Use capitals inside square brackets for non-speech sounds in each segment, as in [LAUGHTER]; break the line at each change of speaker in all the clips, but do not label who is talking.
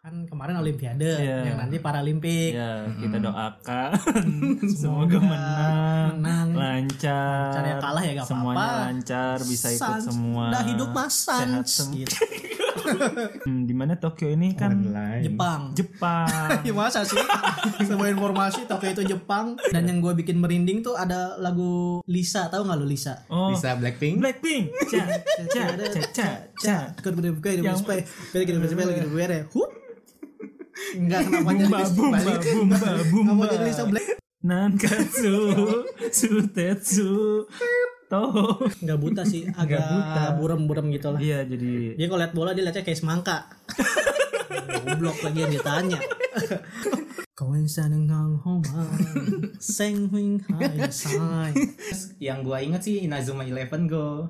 Kan kemarin Olimpiade
Iya.
yang nanti Paralimpik
Ya, kita doakan
Semoga
[LAUGHS] semoga menang,
menang.
lancar.
Lancar ya kalah ya nggak
Semuanya
apa-apa.
lancar, bisa ikut
Sans.
semua.
Dah hidup mas
Sehat
sans.
semua.
gitu.
Hmm, di mana Tokyo ini kan
Online.
Jepang
[LAUGHS] Jepang.
Ya [LAUGHS] masa sih Semua informasi Tokyo itu Jepang Dan yang gue bikin merinding tuh ada lagu Lisa tahu gak lu Lisa?
Oh,
Bisa Blackpink.
Blackpink. Ca, ca, ca, ca, ca.
Ikut berdiri buka hidup
Yang-
display Beri hidup display Beri hidup display Hup Enggak kenapa jadi
Bumba, bumba, bumba,
Kamu
bumba.
jadi Lisa Black
[LAUGHS] Nankatsu, Sutetsu, Toho.
Enggak buta sih Agak
buta.
burem-burem gitu lah
Iya, jadi
Dia kalau lihat bola dia liatnya kayak semangka [LAUGHS] Goblok lagi yang ditanya [LAUGHS] Kawan saneng hang homa Seng huing hai sai
Terus yang gua inget sih Inazuma Eleven go.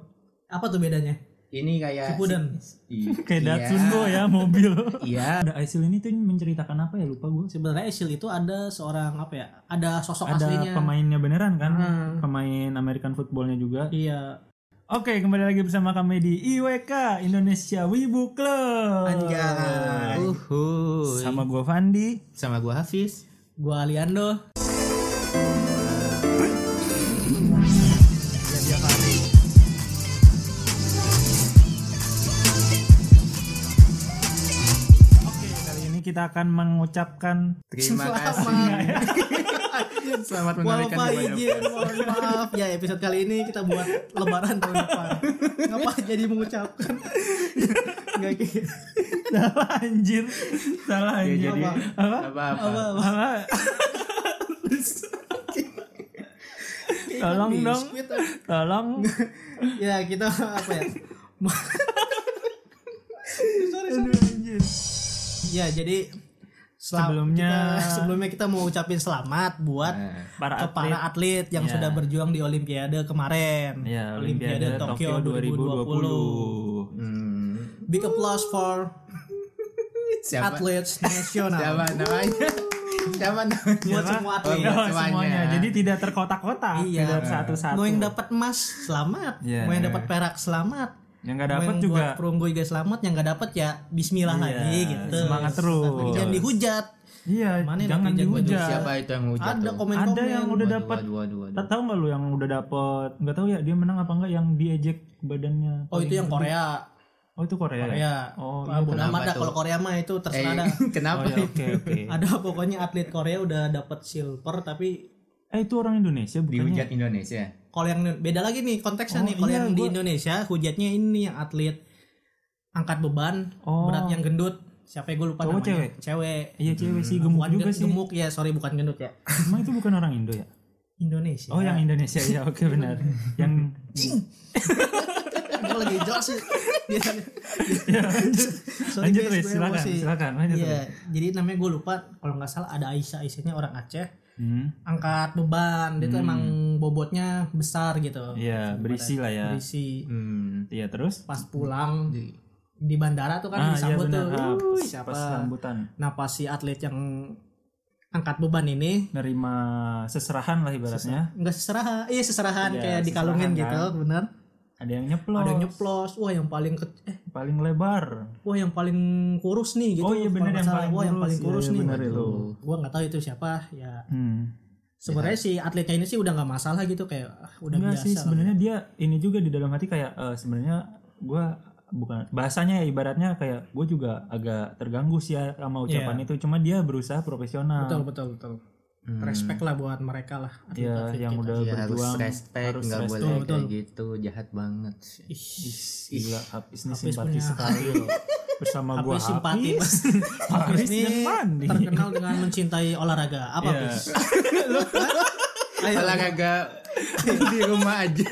Apa tuh bedanya?
Ini kayak
Shippuden
I-
[LAUGHS] kayak
iya.
Datsun ya mobil.
Iya.
Ada Aisil ini tuh menceritakan apa ya lupa gue.
sebenarnya Isil itu ada seorang apa ya ada sosok
ada
aslinya
pemainnya beneran kan
Hmm.
pemain American footballnya juga
iya
oke kembali lagi bersama kami di IWK Indonesia Wibu Club
anjay
Uhuy.
sama gue Fandi
Sama gua Hafiz.
gua Aliando
oke kali ini kita akan mengucapkan [LAUGHS]
Terima
[LAUGHS]
kasih.
Selamat.
Selamat
Mohon
menarikan
maaf,
kepada-
izin, mohon maaf ya episode kali ini kita buat lebaran tahun [LAUGHS] depan ngapa jadi mengucapkan [LAUGHS] nggak gitu. kayak
salah anjir salah
Ya,
anjir
jadi
apa apa,
Ah,
apa-apa.
Apa? tolong
Biskuit,
dong
apa.
tolong
ah. ya kita apa
[LAUGHS]
ya sorry, sorry. ya jadi selam-
Sebelumnya-
kita- sebelumnya kita mau ucapin selamat buat
Nah.
para
ke para
atlet
atlet yang
Ya.
sudah berjuang di Olimpiade kemarin.
ya Olimpiade Tokyo 2020
Hmm.
2020. Big applause for
Siapa?
athletes
Siapa
nasional.
namanya?
[LAUGHS]
Siapa namanya?
Buat
Siapa?
semua
Oh,
atlet.
iya,
Semuanya.
semuanya. Jadi tidak terkotak-kotak,
Iya.
tidak satu-satu.
Mau yang dapat emas selamat,
Ya.
mau yang dapat perak selamat,
yang nggak
mau
dapat
yang
juga.
buat perunggu juga selamat, yang nggak dapat ya Bismillah
Iya,
lagi gitu.
semangat terus.
Tapi jangan dihujat.
Iya,
Mana
jangan
netizen gua
dihujat.
Siapa itu yang ngujat?
Ada
tuh?
komen-komen.
Ada yang udah
Waduh,
dapat.
waduh, waduh, waduh.
Ta- Tahu nggak lu yang udah dapat? Nggak tahu ya dia menang apa nggak yang diejek badannya.
Oh itu yang Korea.
Oh itu Korea. ya?
Korea.
Oh,
Ah,
iya,
bodo
kenapa
amat dah
tuh?
kalau Korea mah itu terserah
Eh,
dah.
Oh,
[LAUGHS] kenapa?
iya, Oke oke.
[LAUGHS] Ada pokoknya atlet Korea udah dapat silver tapi
Eh itu orang Indonesia bukannya?
Dihujat Indonesia.
kalau yang beda lagi nih konteksnya
Oh,
nih kalau
iya,
yang di
gua-
Indonesia hujatnya ini yang atlet angkat beban
Oh.
berat yang gendut siapa ya gue lupa
Cowok,
namanya cewek cewek
Iya cewek sih gemuk
Bukan
juga
gen-
sih.
Hmm. gemuk ya sorry bukan gendut ya
[LAUGHS] Emang itu bukan orang Indo ya?
Indonesia
Oh yang Indonesia ya
[LAUGHS]
oke benar. yang
gue lagi jelas sih
[LAUGHS]
Biasanya-
ya, lanjut,
[LAUGHS] Sorry,
lanjut
guys,
Riz,
gue
silakan
emosi.
silakan lanjut. Riz.
Iya, jadi namanya gue lupa kalau nggak salah ada Aisyah Aisyahnya orang Aceh
Hmm.
angkat beban dia tuh
Hmm.
emang bobotnya besar gitu
Iya berisi lah ya.
berisi
Hmm.
Iya terus.
pas pulang di bandara tuh kan
Ah iya
disambut
benar.
tuh
Ah,
"Wuih,
pas-
siapa
Pas sambutan.
Nah pas si atlet yang angkat beban ini
nerima seserahan lah ibaratnya
nggak seserahan, iya seserahan
Iya,
kayak dikalungin
seserahan,
gitu, bener.
ada yang nyeplos
Ada yang nyeplos, wah yang paling ke, eh,
paling lebar
wah yang paling kurus nih gitu.
Oh, iya,
kalau
bener,
nggak
yang
salah.
paling
wah yang
kurus.
paling
Iya,
kurus
iya,
nih.
bener itu.
Gue nggak tahu itu siapa. Ya
hmm.
sebenarnya si atletnya ini sih udah nggak masalah gitu kayak ah, udah
enggak
biasa. ya.
sih
lah.
sebenarnya dia ini juga di dalam hati kayak eh, sebenarnya gua bukan bahasanya ya ibaratnya kayak gue juga agak terganggu sih ya sama ucapan itu cuma dia berusaha profesional
Iya. Betul betul betul.
Hmm.
Respect lah buat mereka lah.
ya
atlet-atlet
yang
kita.
udah
Iya, harus
berjuang
respect,
harus
nggak
respect.
boleh
Betul,
kayak
betul.
gitu, jahat banget.
Ih,
Ih, gila habis ini
Hafiz
simpati
punya-
sekali bersama
Hafiz
gua
simpati,
simpati
[LAUGHS] Mas.
Hafiz
ini
dan Fandi
terkenal dengan mencintai olahraga. Apa
Iya.
Fis? Ayo,
Olahraga [LAUGHS] di rumah aja.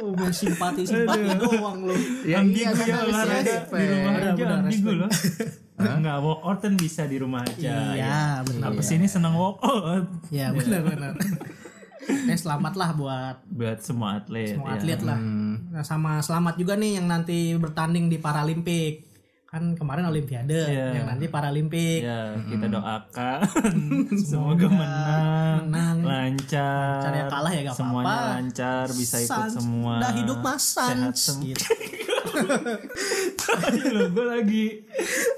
Oh, main simpati simpati doang lu.
Yang
ambigu ya olahraga di rumah
Benar, Iya,
aja
benar,
ambigu loh [LAUGHS] nggak walk out kan bisa di rumah aja
Iya, benar.
Apa sih ini Oh, senang [LAUGHS] walk out
Iya, benar benar.
[LAUGHS]
Eh selamatlah buat
buat semua atlet
semua
ya.
atlet lah.
Hmm.
Nah, sama selamat juga nih yang nanti bertanding di Paralimpik. Kan kemarin Olimpiade,
Iya.
yang nanti Paralimpik.
ya kita doakan [LAUGHS] semoga menang
menang.
lancar
Lancar ya kalah ya nggak
semuanya
apa-apa.
lancar bisa ikut
Sans.
[LAUGHS] semua
Dah hidup mas sans.
sehat semua
Gitu.
lo gue lagi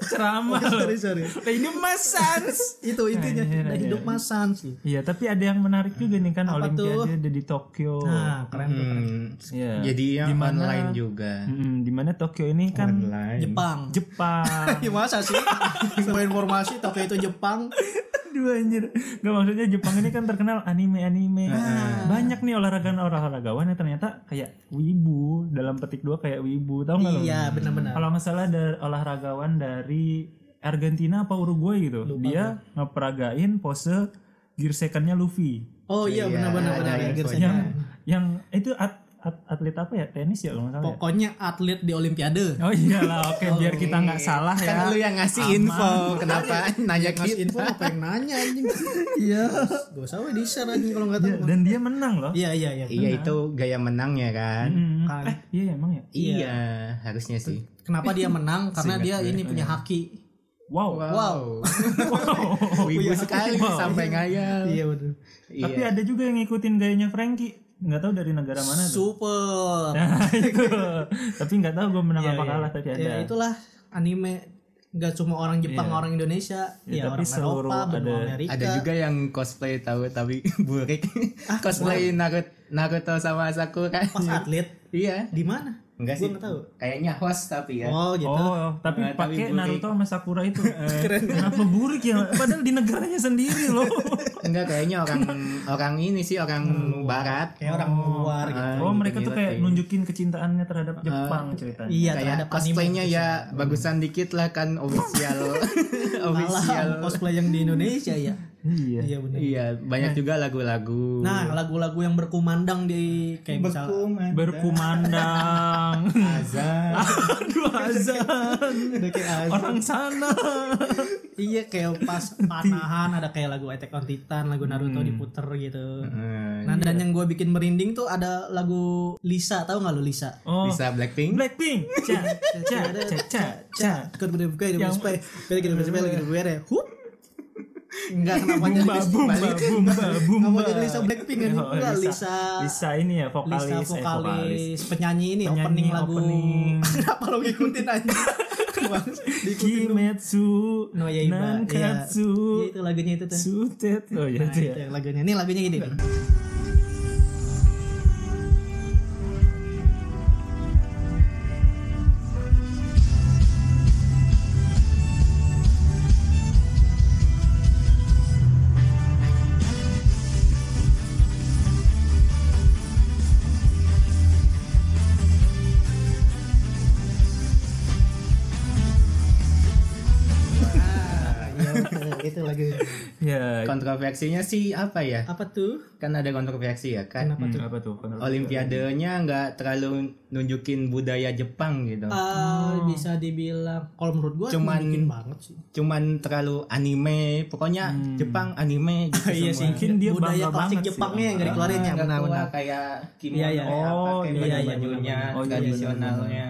ceramah
[LAUGHS] [LAUGHS] sorry
loh.
sorry
Nah, ini Mas Sans.
itu intinya
Anjir, iya.
nah,
anjir.
hidup Mas Sans sih
Iya, tapi ada yang menarik juga nih kan
Apa tuh?
Olimpiade ada di Tokyo.
nah keren tuh keren.
Hmm,
Iya.
Jadi yang
Gimana?
online juga.
Mm-mm, di mana Tokyo ini kan
Online.
Jepang
Jepang.
[LAUGHS] ya masa sih semua informasi Tokyo itu Jepang
Dua anjir. Gak maksudnya Jepang ini kan terkenal anime-anime.
Nah.
Banyak nih olahraga olahragawan yang ternyata kayak wibu dalam petik dua kayak wibu, tau nggak lo?
iya benar-benar
Kalau nggak salah ada olahragawan dari Argentina apa Uruguay gitu. Dia ngeperagain pose gear secondnya Luffy.
oh iya benar-benar
ada
benar
infonya.
Gersenya.
Yang itu at- at- atlet apa ya? Tenis ya kalau nggak salah. ya?
pokoknya atlet di Olimpiade
Oh iyalah, oke biar kita nggak
iya.
salah ya.
Kan lu yang ngasih
Aman.
info. [LAUGHS] Kenapa nanya
Mas
gitu?
info apa yang nanya anjing [LAUGHS] iya gak usah we, di share anjing kalau nggak tahu
Dan dia menang loh.
iya iya iya
Iya itu gaya menangnya kan.
Mm-mm.
Kan.
Eh, iya emang ya.
Iya, harusnya sih.
kenapa dia [LAUGHS] menang karena dia ini punya haki
[LAUGHS] Wow.
Wow.
Wibu sekali sampai ngayal. Iya.
iya betul
Tapi ada juga yang ngikutin gayanya Frankie. Nggak tahu dari negara mana tuh.
super
Nah, [LAUGHS] itu. Tapi nggak tahu gue menang
Iya,
apa
iya.
kalah tapi ada.
ya itulah anime nggak cuma orang Jepang orang Indonesia
Ya,
ya,
tapi
orang
seluruh
Eropa benua
ada-
Amerika
Ada juga yang cosplay tahu tapi [LAUGHS] burik. cosplay Naruto, Naruto sama Sakura.
pas atlet
Iya.
di mana Gua
Enggak sih.
nggak tahu.
Kayaknya host tapi ya.
oh gitu
Oh, tapi
Nah, tapi
pakai
burik.
Naruto sama Sakura [LAUGHS] itu. Kenapa burik ya? Padahal di negaranya sendiri [LAUGHS] loh.
Enggak kayaknya
[LAUGHS]
orang orang ini sih orang
Hmm.
barat.
kayak orang luar gitu
Oh, mereka tuh kayak nunjukin kecintaannya terhadap Jepang ceritanya.
iya
kayak
terhadap
cosplaynya
gitu
ya
Hmm.
bagusan dikit lah kan
[LAUGHS]
official official.
malah [LAUGHS] cosplay yang di Indonesia ya
Iya.
iya benar
Iya, banyak
Nah.
juga lagu-lagu.
nah lagu-lagu yang berkumandang di kayak misal
Berkumandang.
Azan.
[LAUGHS] Aduh azan.
ada kayak Az-
Orang sana.
iya kayak pas panahan ada kayak lagu Attack on Titan lagu Naruto diputer gitu
Eh,
nah dan yang gue bikin merinding tuh ada lagu Lisa tahu nggak lu Lisa
Oh.
Bisa Blackpink.
Blackpink. Ca ca ca ca ca.
Ikut gede Kan buka gede buka Gede gede buka gede buka ya Hup Enggak kenapa jadi
Bumba bumba bumba
Nggak
bumba.
mau jadi Lisa Blackpink kan
Oh,
Enggak Lisa
Lisa ini ya vokalis,
Lisa
eh, vokalis.
vokalis Penyanyi ini
Penyanyi,
opening lagu
opening.
[LAUGHS] Kenapa lo ngikutin aja Bang, Diikutin dulu.
Kimetsu
No Yaiba Iya
Nankatsu
Iya, itu lagunya itu tuh
Sutet. Oh iya
Nah,
itu
itu
ya.
yang lagunya Ini lagunya gini nih. Ah, iya, betul. Itu lagunya
Ya.
Kontroversinya sih apa ya?
Apa tuh?
Kan ada kontroversi ya kan.
hmm, Apa tuh?
Olimpiadenya nggak terlalu nunjukin budaya Jepang gitu.
Ah.
Eh,
Hmm.
Bisa dibilang Kalau menurut gue
Cuman-
Cuman banget
[LAUGHS]
sih
Cuman terlalu anime, pokoknya
Hmm.
Jepang
[LAUGHS]
anime gitu
Iya
semua.
sih,
Mungkin dia
budaya
bangga
klasik
banget sih.
Jepangnya yang gak dikeluarin
iya,
ya,
Nggak
benar-benar.
keluar kayak kimono
Iya, iya.
kayak apa,
Oh,
kayak
iya,
iya,
bajunya
benar-benar. Oh, iya,
tradisionalnya.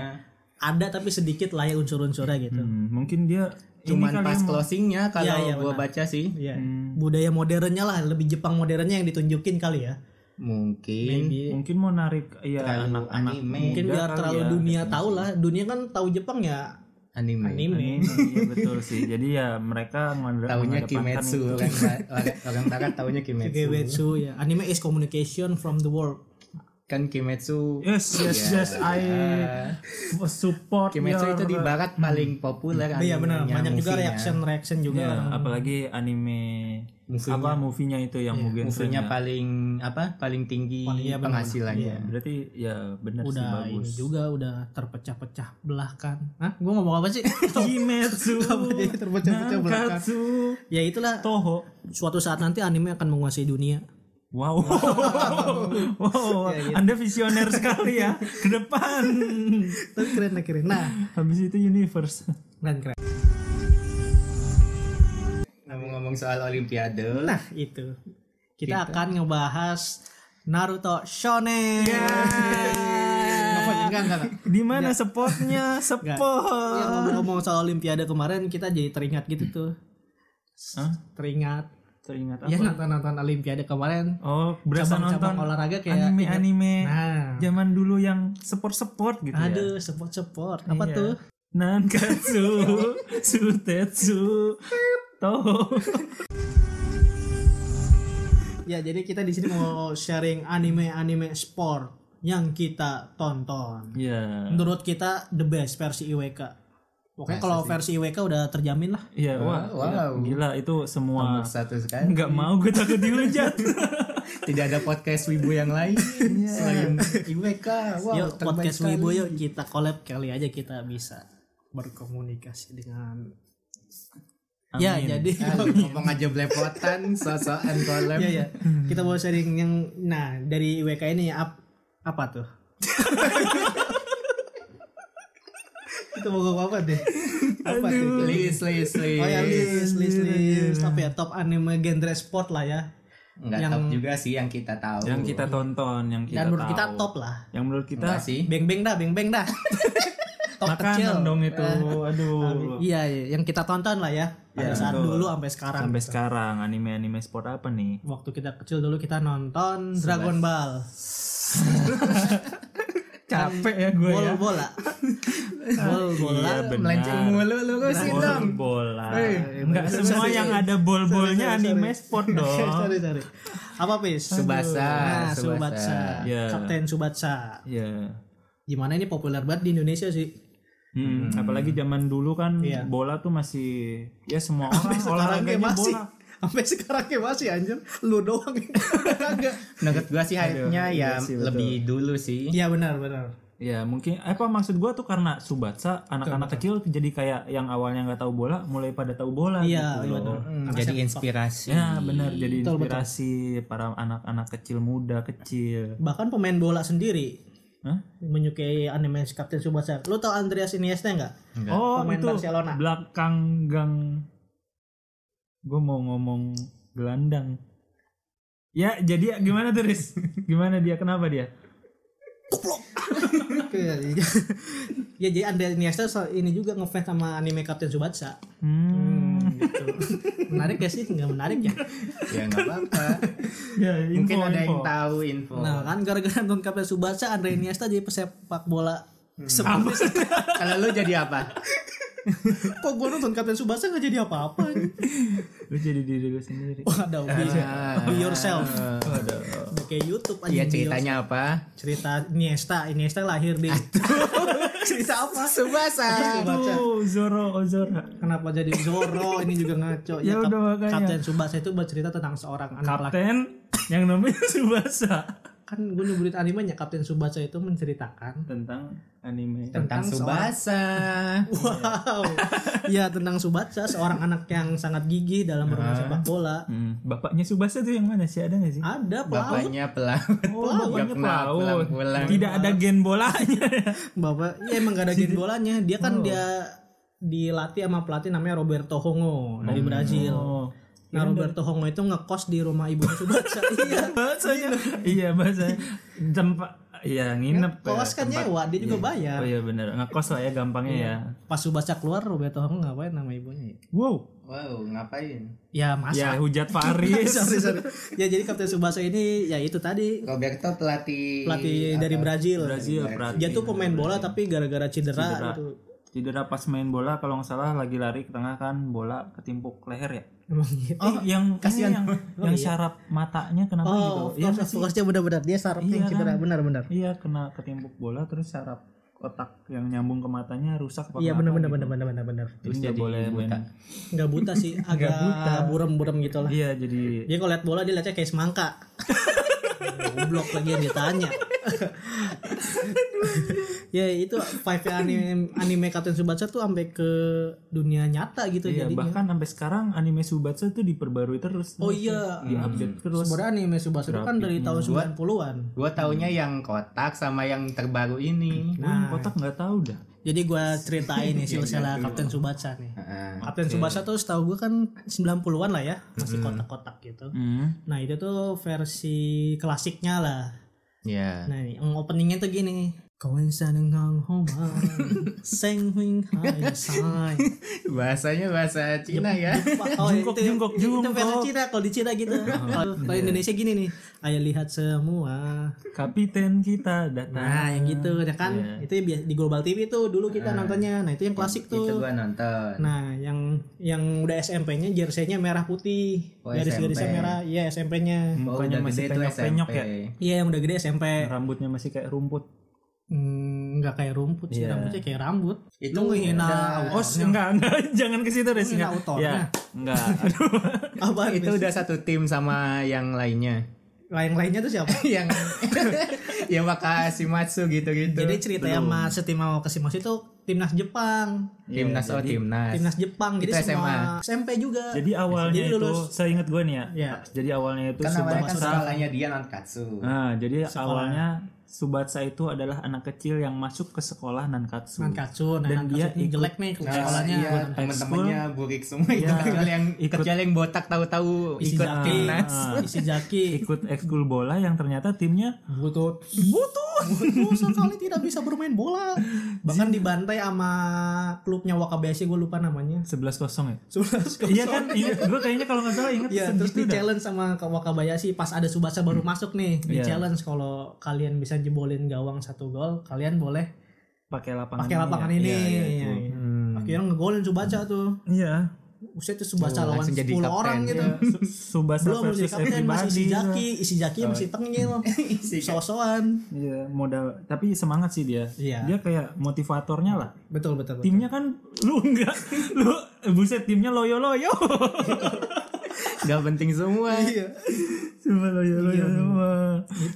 Ada tapi sedikit lah ya unsur-unsurnya gitu.
Hmm, mungkin dia ini
Cuman
kali
pas
emang-
closingnya kalau
Iya, iya,
gua
benar.
baca sih
Iya.
Hmm.
Budaya modernnya lah, lebih Jepang modernnya yang ditunjukin kali ya.
mungkin
mungkin mau narik ya
Terlalu
anak-anak
anime.
Mungkin
muda
biar
kali
terlalu
ya.
dunia tahu lah. Dunia kan tahu Jepang ya
anime.
anime.
Anime, iya, betul sih jadi ya mereka mengandalkan
Taunya Kimetsu orang orang- orang barat taunya Kimetsu.
Kimetsu ya. Anime is communication from the world.
Kan Kimetsu
Ya,
yes yes
Iya.
yes I support
Kimetsu
your-
itu di barat paling populer
Hmm. Iya benar,
animenya,
banyak juga
movie-nya.
reaction reaction juga.
Ya, apalagi anime apa movie-nya itu
Iya,
yang mungkin ya.
Movie-nya paling apa? Paling tinggi penghasilannya.
berarti ya benar sih
Iya. Udah ini
bagus
juga udah terpecah-pecah belah kan. Hah, gua ngomong
[LAUGHS]
apa sih? [LAUGHS]
Kimetsu
jadi terpecah-pecah belakang?
Nankatsu
ya itulah
Toho
suatu saat nanti anime akan menguasai dunia.
Wow, [LAUGHS] Ya, wow, Anda visioner sekali ya ke depan.
Tapi keren lah, keren. Nah,
Habis itu universe.
keren keren.
Ngomong-ngomong soal olimpiade.
Nah itu kita akan ngebahas Naruto Shonen. Apa sih? Enggak, enggak, enggak.
Di mana spotnya? Spot.
Ya, ngomong-ngomong soal Olimpiade kemarin kita jadi teringat gitu tuh.
Hah?
Teringat
Teringat apa?
Ya nonton-nonton Olimpiade kemarin.
Oh, berasa
Cabang-cabang
nonton
olahraga kayak
anime-anime
Nah,
zaman dulu yang seport-seport gitu ya.
Aduh, support-support. Apa
Iya.
tuh?
Nankatsu, Sutetsu, Toho.
Ya, jadi kita di sini mau sharing anime-anime sport yang kita tonton.
Iya.
Menurut kita the best versi IWK. Pokoknya
Masa
kalau
sih?
versi IWK udah terjamin lah.
Iya, wah.
Wow.
Gila itu
Ah.
semua
Nomor satu sekali.
nggak mau gue takut dihujat.
Tidak ada podcast Wibu yang
[LAUGHS]
lain selain IWK. Wow,
Iya. yuk
terbaik
podcast
sekali.
Wibu yuk kita collab kali aja kita bisa berkomunikasi dengan Ya,
Amin.
jadi [LAUGHS]
Ah, lu ngomong aja belepotan, sosokan kolem.
Iya, iya. Kita mau sharing yang nah dari IWK ini ap- apa tuh? [LAUGHS] kita mau ngomong apa deh? Apa tuh?
List, list, list.
Gitu. Oh ya list, list, list. Apa ya top anime genre sport lah ya.
Nggak
Yang-
top juga sih yang kita tahu.
yang kita tonton, yang kita
Dan menurut
Iya, tahu.
kita top lah.
Yang menurut kita
Nggak sih.
Beng beng dah, beng beng
[LAUGHS]
dah. top kecil. Eh.
makanan dong itu. Aduh.
Iya, iya, yang kita tonton lah ya. Pada
Iya,
saat
betul.
dulu sampai sekarang.
Sampai sekarang anime-anime sport apa nih?
Waktu kita kecil dulu kita nonton Dragon Ball,
Capek ya gue
bol
[LAUGHS]
bola, bol bola.
Iya benar.
Melenceng mulu lu gue sih
Bol
dong.
bola.
Eh,
Enggak semua yang ada bol-bolnya anime
[LAUGHS]
sport dong.
sorry, sorry. Apa pis?
Subasa,
Nah, Subatsa.
Subasa.
Iya.
Kapten Subatsa.
Iya.
Gimana ini populer banget di Indonesia sih?
Hmm, apalagi zaman dulu kan
Iya.
bola tuh masih ya semua orang
Sampai sekarang kayak
olahraganya
masih.
bola.
Sampai sekarang kayak masih anjir. Lu
[LAUGHS]
doang yang olahraga.
Menurut gua sih hype-nya ya lebih dulu sih.
Iya benar, benar.
Ya mungkin apa maksud gua tuh karena Subatsa anak-anak kecil jadi kayak yang awalnya nggak tahu bola mulai pada tahu bola
Iya, iya,
gitu loh.
betul.
Hmm, jadi inspirasi.
Ya benar jadi inspirasi para anak-anak kecil muda kecil.
Bahkan pemain bola sendiri
Hah?
menyukai anime Kapten Subasa. Lu tau Andreas Iniesta enggak?
Oh
Pemain
itu
Barcelona.
belakang gang. Gue mau ngomong gelandang. Ya jadi gimana tuh [LAUGHS] Riz? Gimana dia kenapa dia?
[LAUGHS] ya jadi Andreas Iniesta so- ini juga ngefans sama anime Kapten Subasa.
Hmm.
[LAUGHS] Menarik ya sih? Enggak menarik ya?
Ya nggak apa-apa.
Ya, info,
Mungkin ada yang
info.
tahu info.
Nah kan gara-gara nonton Kapten Subasa Andre Iniesta jadi pesepak bola
Hmm.
[LAUGHS] sebelum
Kalau lu jadi apa?
Kok gue nonton Kapten Subasa gak jadi apa-apa anjing?
Lu jadi diri lu sendiri.
Waduh be, be yourself Udah Kayak Youtube aja
Iya ceritanya apa?
Cerita Iniesta Iniesta lahir di [LAUGHS] Cerita apa?
Subasa.
Subasa.
Tuh, Zoro, oh, Zoro.
Kenapa jadi Zoro ini juga ngaco
Ya
Kap-
udah, makanya.
Kapten Subasa itu bercerita tentang seorang anak laki
Kapten yang namanya [LAUGHS] Subasa.
Kan gue nyebutin animenya Kapten Subasa itu
[LAUGHS]
menceritakan
Tentang anime.
Tentang Subasa.
Iya.
Wow Ya tentang Subasa Seorang anak yang sangat gigih dalam bermain sepak bola
Hmm, bapaknya Subasa tuh yang mana sih? Ada gak sih?
Ada pelaut
Bapaknya pelaut.
Oh,
Nggak pernah pulang-pulang.
Tidak ada gen bolanya.
Bapak, ya emang gak ada
[LAUGHS] Oh.
gen bolanya. Dia kan dia dilatih sama pelatih namanya Roberto Hongo dari Brazil.
Oh.
Nah Roberto Hongo itu ngekos di rumah ibu
[LAUGHS]
Subasa. iya.
Bahasanya. iya, bahasanya. Tempat Iya, nginep. ya,
Kos kan
tempat-
nyewa, dia juga bayar.
Oh iya benar, ngekos lah ya gampangnya ya.
Pas Subasa keluar Roberto Hongo ngapain nama ibunya? ya?
Wow,
[LAUGHS] Wow, ngapain?
Ya masa.
ya hujat [LAUGHS] Faris.
[LAUGHS] Sorry, sorry. Ya jadi Kapten Subasa ini ya itu tadi
Roberto
Iya,
pelatih
pelatih dari Brazil.
Brazil, berarti.
Dia tuh pemain bola tapi gara-gara cedera,
Cedera.
gitu.
Cedera pas main bola kalau nggak salah lagi lari ke tengah kan bola ketimpuk leher ya.
Emang gitu.
Oh, yang kasihan Oh, iya. yang, yang syaraf matanya kenapa
Oh,
gitu?
of
Iya
course,
nggak
of
sih?
course. Dia benar-benar dia sarafnya yang
Iya
cedera,
kan?
benar-benar.
Iya, kena ketimpuk bola terus syaraf otak yang nyambung ke matanya rusak apa
Iya
kenapa
benar-benar
gitu.
benar-benar benar-benar.
Terus nggak boleh main.
[LAUGHS] Nggak buta sih, agak buram-buram gitu lah.
Iya, jadi
Dia kalau lihat bola dia lihatnya kayak [LAUGHS] semangka. Goblok lagi yang [LAUGHS] ditanya. ya itu five anime anime Captain Tsubasa tuh sampai ke dunia nyata gitu
iya,
jadinya.
bahkan sampai sekarang anime Subatsu tuh diperbarui terus.
Oh iya.
Di-update terus.
Sebenarnya anime Tsubasa itu kan dari tahun 90-an.
Gue taunya yang kotak sama yang terbaru ini.
Gua
Nah,
yang kotak nggak tahu dah.
Jadi gua ceritain nih silsilah Captain Tsubasa nih.
Heeh.
Captain Tsubasa tuh setahu gua kan 90-an lah ya, masih kotak-kotak gitu.
Hmm.
Nah, itu tuh versi klasiknya lah. Iya.
Ya.
Nah ini yang openingnya tuh gini
[LAUGHS] Bahasanya bahasa Cina ya.
Oh,
Jungkok,
itu,
jungkok,
itu
jungkok.
versi Cina kalau di Cina gitu. Kalau di Indonesia gini nih, ayo lihat semua.
Kapiten kita datang.
Nah, yang gitu ya kan?
Iya.
Itu yang biasa di Global TV tuh dulu kita nontonnya. Nah, itu yang klasik
Itu
tuh.
gua nonton.
Nah, yang yang udah SMP-nya jersey-nya merah putih.
Oh,
Garis-garisnya
SMP.
merah. Iya, SMP-nya.
Oh,
Mukanya
udah
masih
gede tuh
penyok-penyok
SMP.
ya.
Iya, yang udah gede SMP.
Rambutnya masih kayak rumput.
Hmm, nggak kayak rumput sih,
Iya.
rambutnya kayak rambut.
Itu
Lu ngehina
udah-
Oh, enggak, enggak, jangan ke situ deh
Ini autornya. [LAUGHS]
Ya, enggak. Aduh.
Apaan?
[LAUGHS] Iya. Itu udah satu tim sama yang
[LAUGHS]
lainnya.
lain-lainnya tuh siapa?
[LAUGHS] yang yang Wakashi Matsu gitu-gitu.
[LAUGHS] Jadi ceritanya Mas Setimao Kasimas itu timnas Jepang,
timnas oh timnas.
timnas Jepang. Jadi
Itu
semua SMP juga.
Jadi awalnya
Jadi
itu
lulus.
saya ingat gue nih ya.
Iya.
Jadi awalnya itu
Kan awalnya kan
Subasa.
sekolahnya dia non katsu.
Nah, jadi
Sekolah.
awalnya Subatsa itu adalah anak kecil yang masuk ke sekolah Nankatsu.
Nankatsu, nah,
Dan
Nankatsu
dia
ini
ikut-
jelek nih
Nah,
sekolahnya.
iya, temen-temennya burik semua itu
Iya.
kecuali yang
Ikut-
kecuali yang botak tahu-tahu
Isi Ah.
ikut
jaki,
timnas.
Ah,
[LAUGHS] isi jaki.
Ikut ekskul bola yang ternyata timnya
Butut, butut, sekali tidak bisa bermain bola. Bahkan dibantai sama klubnya Wakabayashi gue lupa namanya.
11-0 ya.
Sebelas
Iya
[LAUGHS]
kan? Iya, gue kayaknya kalau nggak salah inget
Iya, terus
segitu
di
dah.
challenge sama Kak Wakabayashi pas ada Subasa baru masuk nih. Di
Iya.
challenge kalau kalian bisa jebolin gawang satu gol, kalian boleh
pakai lapangan
pakai lapangan
ya.
ini.
Iya, iya,
Iya,
itu.
iya.
Hmm.
Akhirnya ngegolin Subasa tuh.
Iya.
Usia tuh Subasa
Tuh,
lawan
langsung
10
jadi kapten.
orang gitu.
Su- Subasa
Belum jadi
Iya. versus Oh.
kapten masih isi
everybody.
jaki, isi jaki masih
[LAUGHS]
tengil. Sosokan.
Iya, modal. Tapi semangat sih dia.
Iya.
Dia kayak motivatornya lah.
Betul, betul. betul.
Timnya kan [LAUGHS] lu enggak lu buset timnya loyo-loyo. [LAUGHS]
Gak penting semua.
Iya,
Cuma loyo-loyo semua.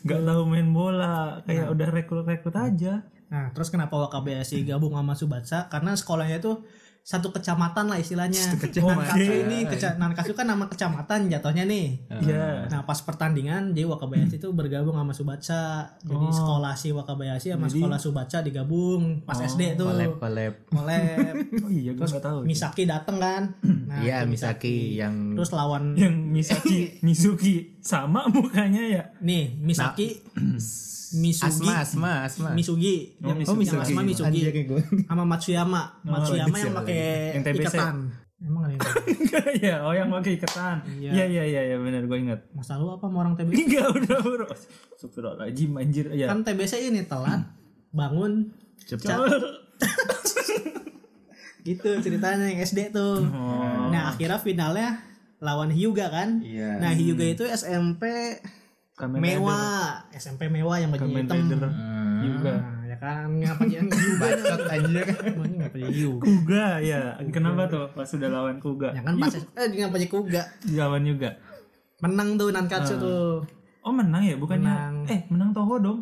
Enggak tahu main bola, kayak udah rekrut-rekrut aja.
Nah, terus kenapa Wakabayashi gabung sama Subatsa? Karena sekolahnya itu satu kecamatan lah istilahnya. Nankatsu ini keca- Nankatsu kan nama kecamatan jatuhnya nih.
Iya.
Nah, pas pertandingan jadi Wakabayashi itu bergabung sama Subatsa. Jadi
Oh.
sekolah si Wakabayashi sama
Jadi-
sekolah Subatsa digabung pas SD tuh.
Collab collab.
Oleh
Oh iya, gue nggak tahu.
Misaki dateng kan. Nah,
Iya,
itu
Misaki yang
Terus lawan
Yang
[LAUGHS]
Misaki,
Iya.
Mizuki sama mukanya ya. [LAUGHS]
nih Misaki Misugi
asma asma asma.
Misugi
Oh,
yang,
Misugi.
yang asma Misugi
Anjir, gue.
sama Matsuyama
Oh,
Matsuyama yang pakai
Yang TBC.
ikatan emang ada yang
Iya, oh yang pakai ketan. Iya, iya, iya, iya benar gue ingat.
masa lu apa sama orang TBC
[LAUGHS] Enggak udah bro. Astagfirullahaladzim anjir. Ya.
kan TBC ini telat bangun gitu ceritanya yang SD tuh
Oh.
nah akhirnya finalnya lawan Hyuga kan
Iya.
nah Hyuga itu SMP
Kamen
mewah SMP mewah yang baju
Kamen
hitam
Rider juga.
nah, ya kan ngapa dia Hyuga
Bacot anjir.
namanya ngapa dia Hyuga [LAUGHS]
Kuga ya. Kenapa tuh pas sudah lawan Kuga?
ya
Iya,
kan pas eh ngapa dia Kuga
Lawan juga.
menang tuh
Ah.
Nankatsu tuh
Oh menang ya bukannya
Menang.
eh menang Toho dong.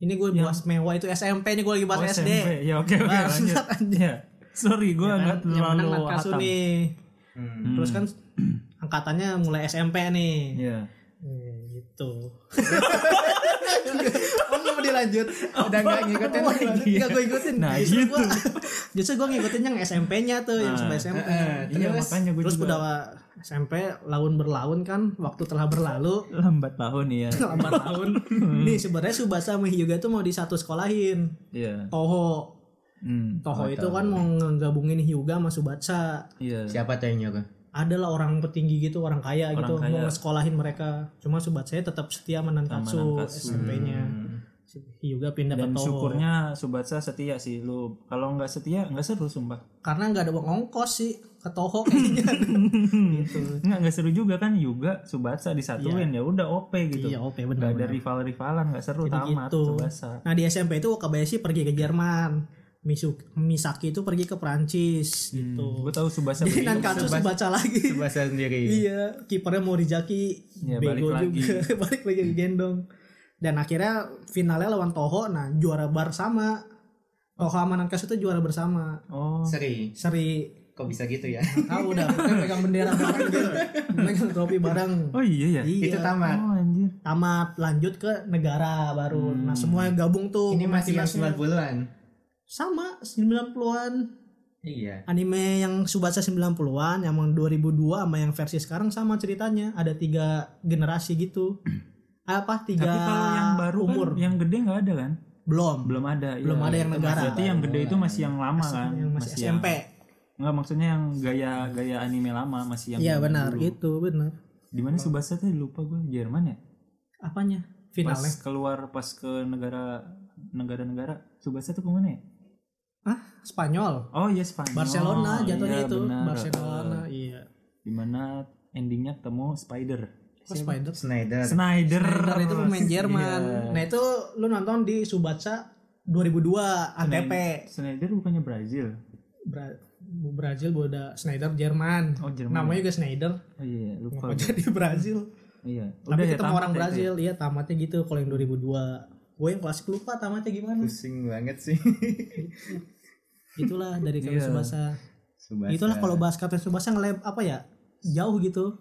ini gue bahas mewah itu SMP nih gue lagi bahas
Oh,
SD
SMP. Ya oke oke
Bangsat,
lanjut. Ya. Sorry gue
Kan,
enggak
yang menang
terlalu
Nankatsu
hatam.
nih
Hmm.
Hmm.
terus kan angkatannya mulai SMP nih
Iya.
Hmm, gitu [LAUGHS] oh nggak mau dilanjut
Udah nggak
kan?
ngikutin lagi.
nggak gue ikutin
Nah,
justru
gitu. Nah,
gue [LAUGHS] justru gue ngikutin yang SMP-nya tuh yang sampai SMP
Iya makanya gue
terus
juga
udah SMP laun berlaun kan waktu telah
[LAUGHS]
berlalu
lambat tahun
[LAUGHS]
ya.
lambat tahun nih sebenarnya Subasa sama Hyuga tuh mau disatu sekolahin
Iya.
Toho
Hmm.
Toho itu kan mau ngegabungin Hyuga sama Subatsa
Iya.
Siapa tuh yang nyuruh?
adalah orang petinggi gitu orang kaya
Orang
gitu
kaya.
mau sekolahin mereka cuma sobat saya tetap setia menankatsu
Nankatsu.
SMP-nya Hyuga pindah
Hmm. Dan
ke Toho
syukurnya Subatsa setia sih lu. Kalau nggak setia nggak seru sumpah.
karena nggak ada uang ongkos sih ke Toho
[LAUGHS]
kayaknya gitu
Nggak nggak seru juga kan juga Subatsa disatuin ya udah OP gitu.
iya oke
Nggak
benar
ada rival-rivalan nggak seru
Jadi
tamat
gitu.
Tsubasa.
nah di SMP itu Wakabayashi pergi ke Jerman Misu- Misaki itu pergi ke Perancis gitu
Gue Hmm, tahu
[LAUGHS]
Subasa
Jadi
begitu.
Nankatsu baca lagi
Bahasa gitu. sendiri.
iya kipernya Morijaki
Ya,
bego
balik lagi.
juga [LAUGHS] balik lagi gendong dan akhirnya finalnya lawan Toho nah juara bersama Toho sama Nankatsu itu juara bersama
Oh.
Seri.
seri
Kok bisa gitu ya?
tahu udah kita pegang bendera bareng gitu. pegang topi bareng
Oh iya ya.
iya
Itu tamat.
Oh anjir.
tamat lanjut ke negara baru nah semua gabung tuh
Ini masih yang
timnasnya.
90-an.
sama 90-an
Iya.
anime yang Subasa 90-an yang 2002 sama yang versi sekarang sama ceritanya ada
[CLEARS THROAT]
tiga generasi gitu apa tiga
Tapi kalau yang baru
umur
kan yang gede nggak ada kan?
belum
belum ada
Belum ada yang negara.
berarti yang gede itu masih yang lama kan
yang masih,
yang-
SMP
Nggak maksudnya yang gaya gaya anime lama masih yang
iya
zaman
benar
dulu.
gitu benar
di mana Subasa tuh lupa gue Jerman ya
apanya
pas
ya.
finalnya
keluar pas ke negara negara-negara Subasa tuh kemana ya
ah Spanyol
oh iya Spanyol
Barcelona jatuhnya
Iya,
itu
benar.
Barcelona iya
di mana endingnya ketemu Spider
Kok Spider
Snyder.
Snyder
Snyder itu pemain Jerman
Iya.
nah itu lu nonton di Subatsa 2002 ATP
Snyder bukannya Brazil
Bra- Brazil udah Snyder Jerman
oh Jerman
namanya juga Snyder
oh iya lupa
Kenapa jadi Brazil
iya
tapi
ya,
ketemu
tamat
orang
ya,
Brazil iya tamatnya gitu kalau yang 2002 gue yang klasik lupa tamatnya gimana
Pusing banget
[LAUGHS]
sih.
itulah dari Captain
Iya.
Subasa
Subasa.
itulah kalau bahas Captain Subasa ngelab apa ya jauh gitu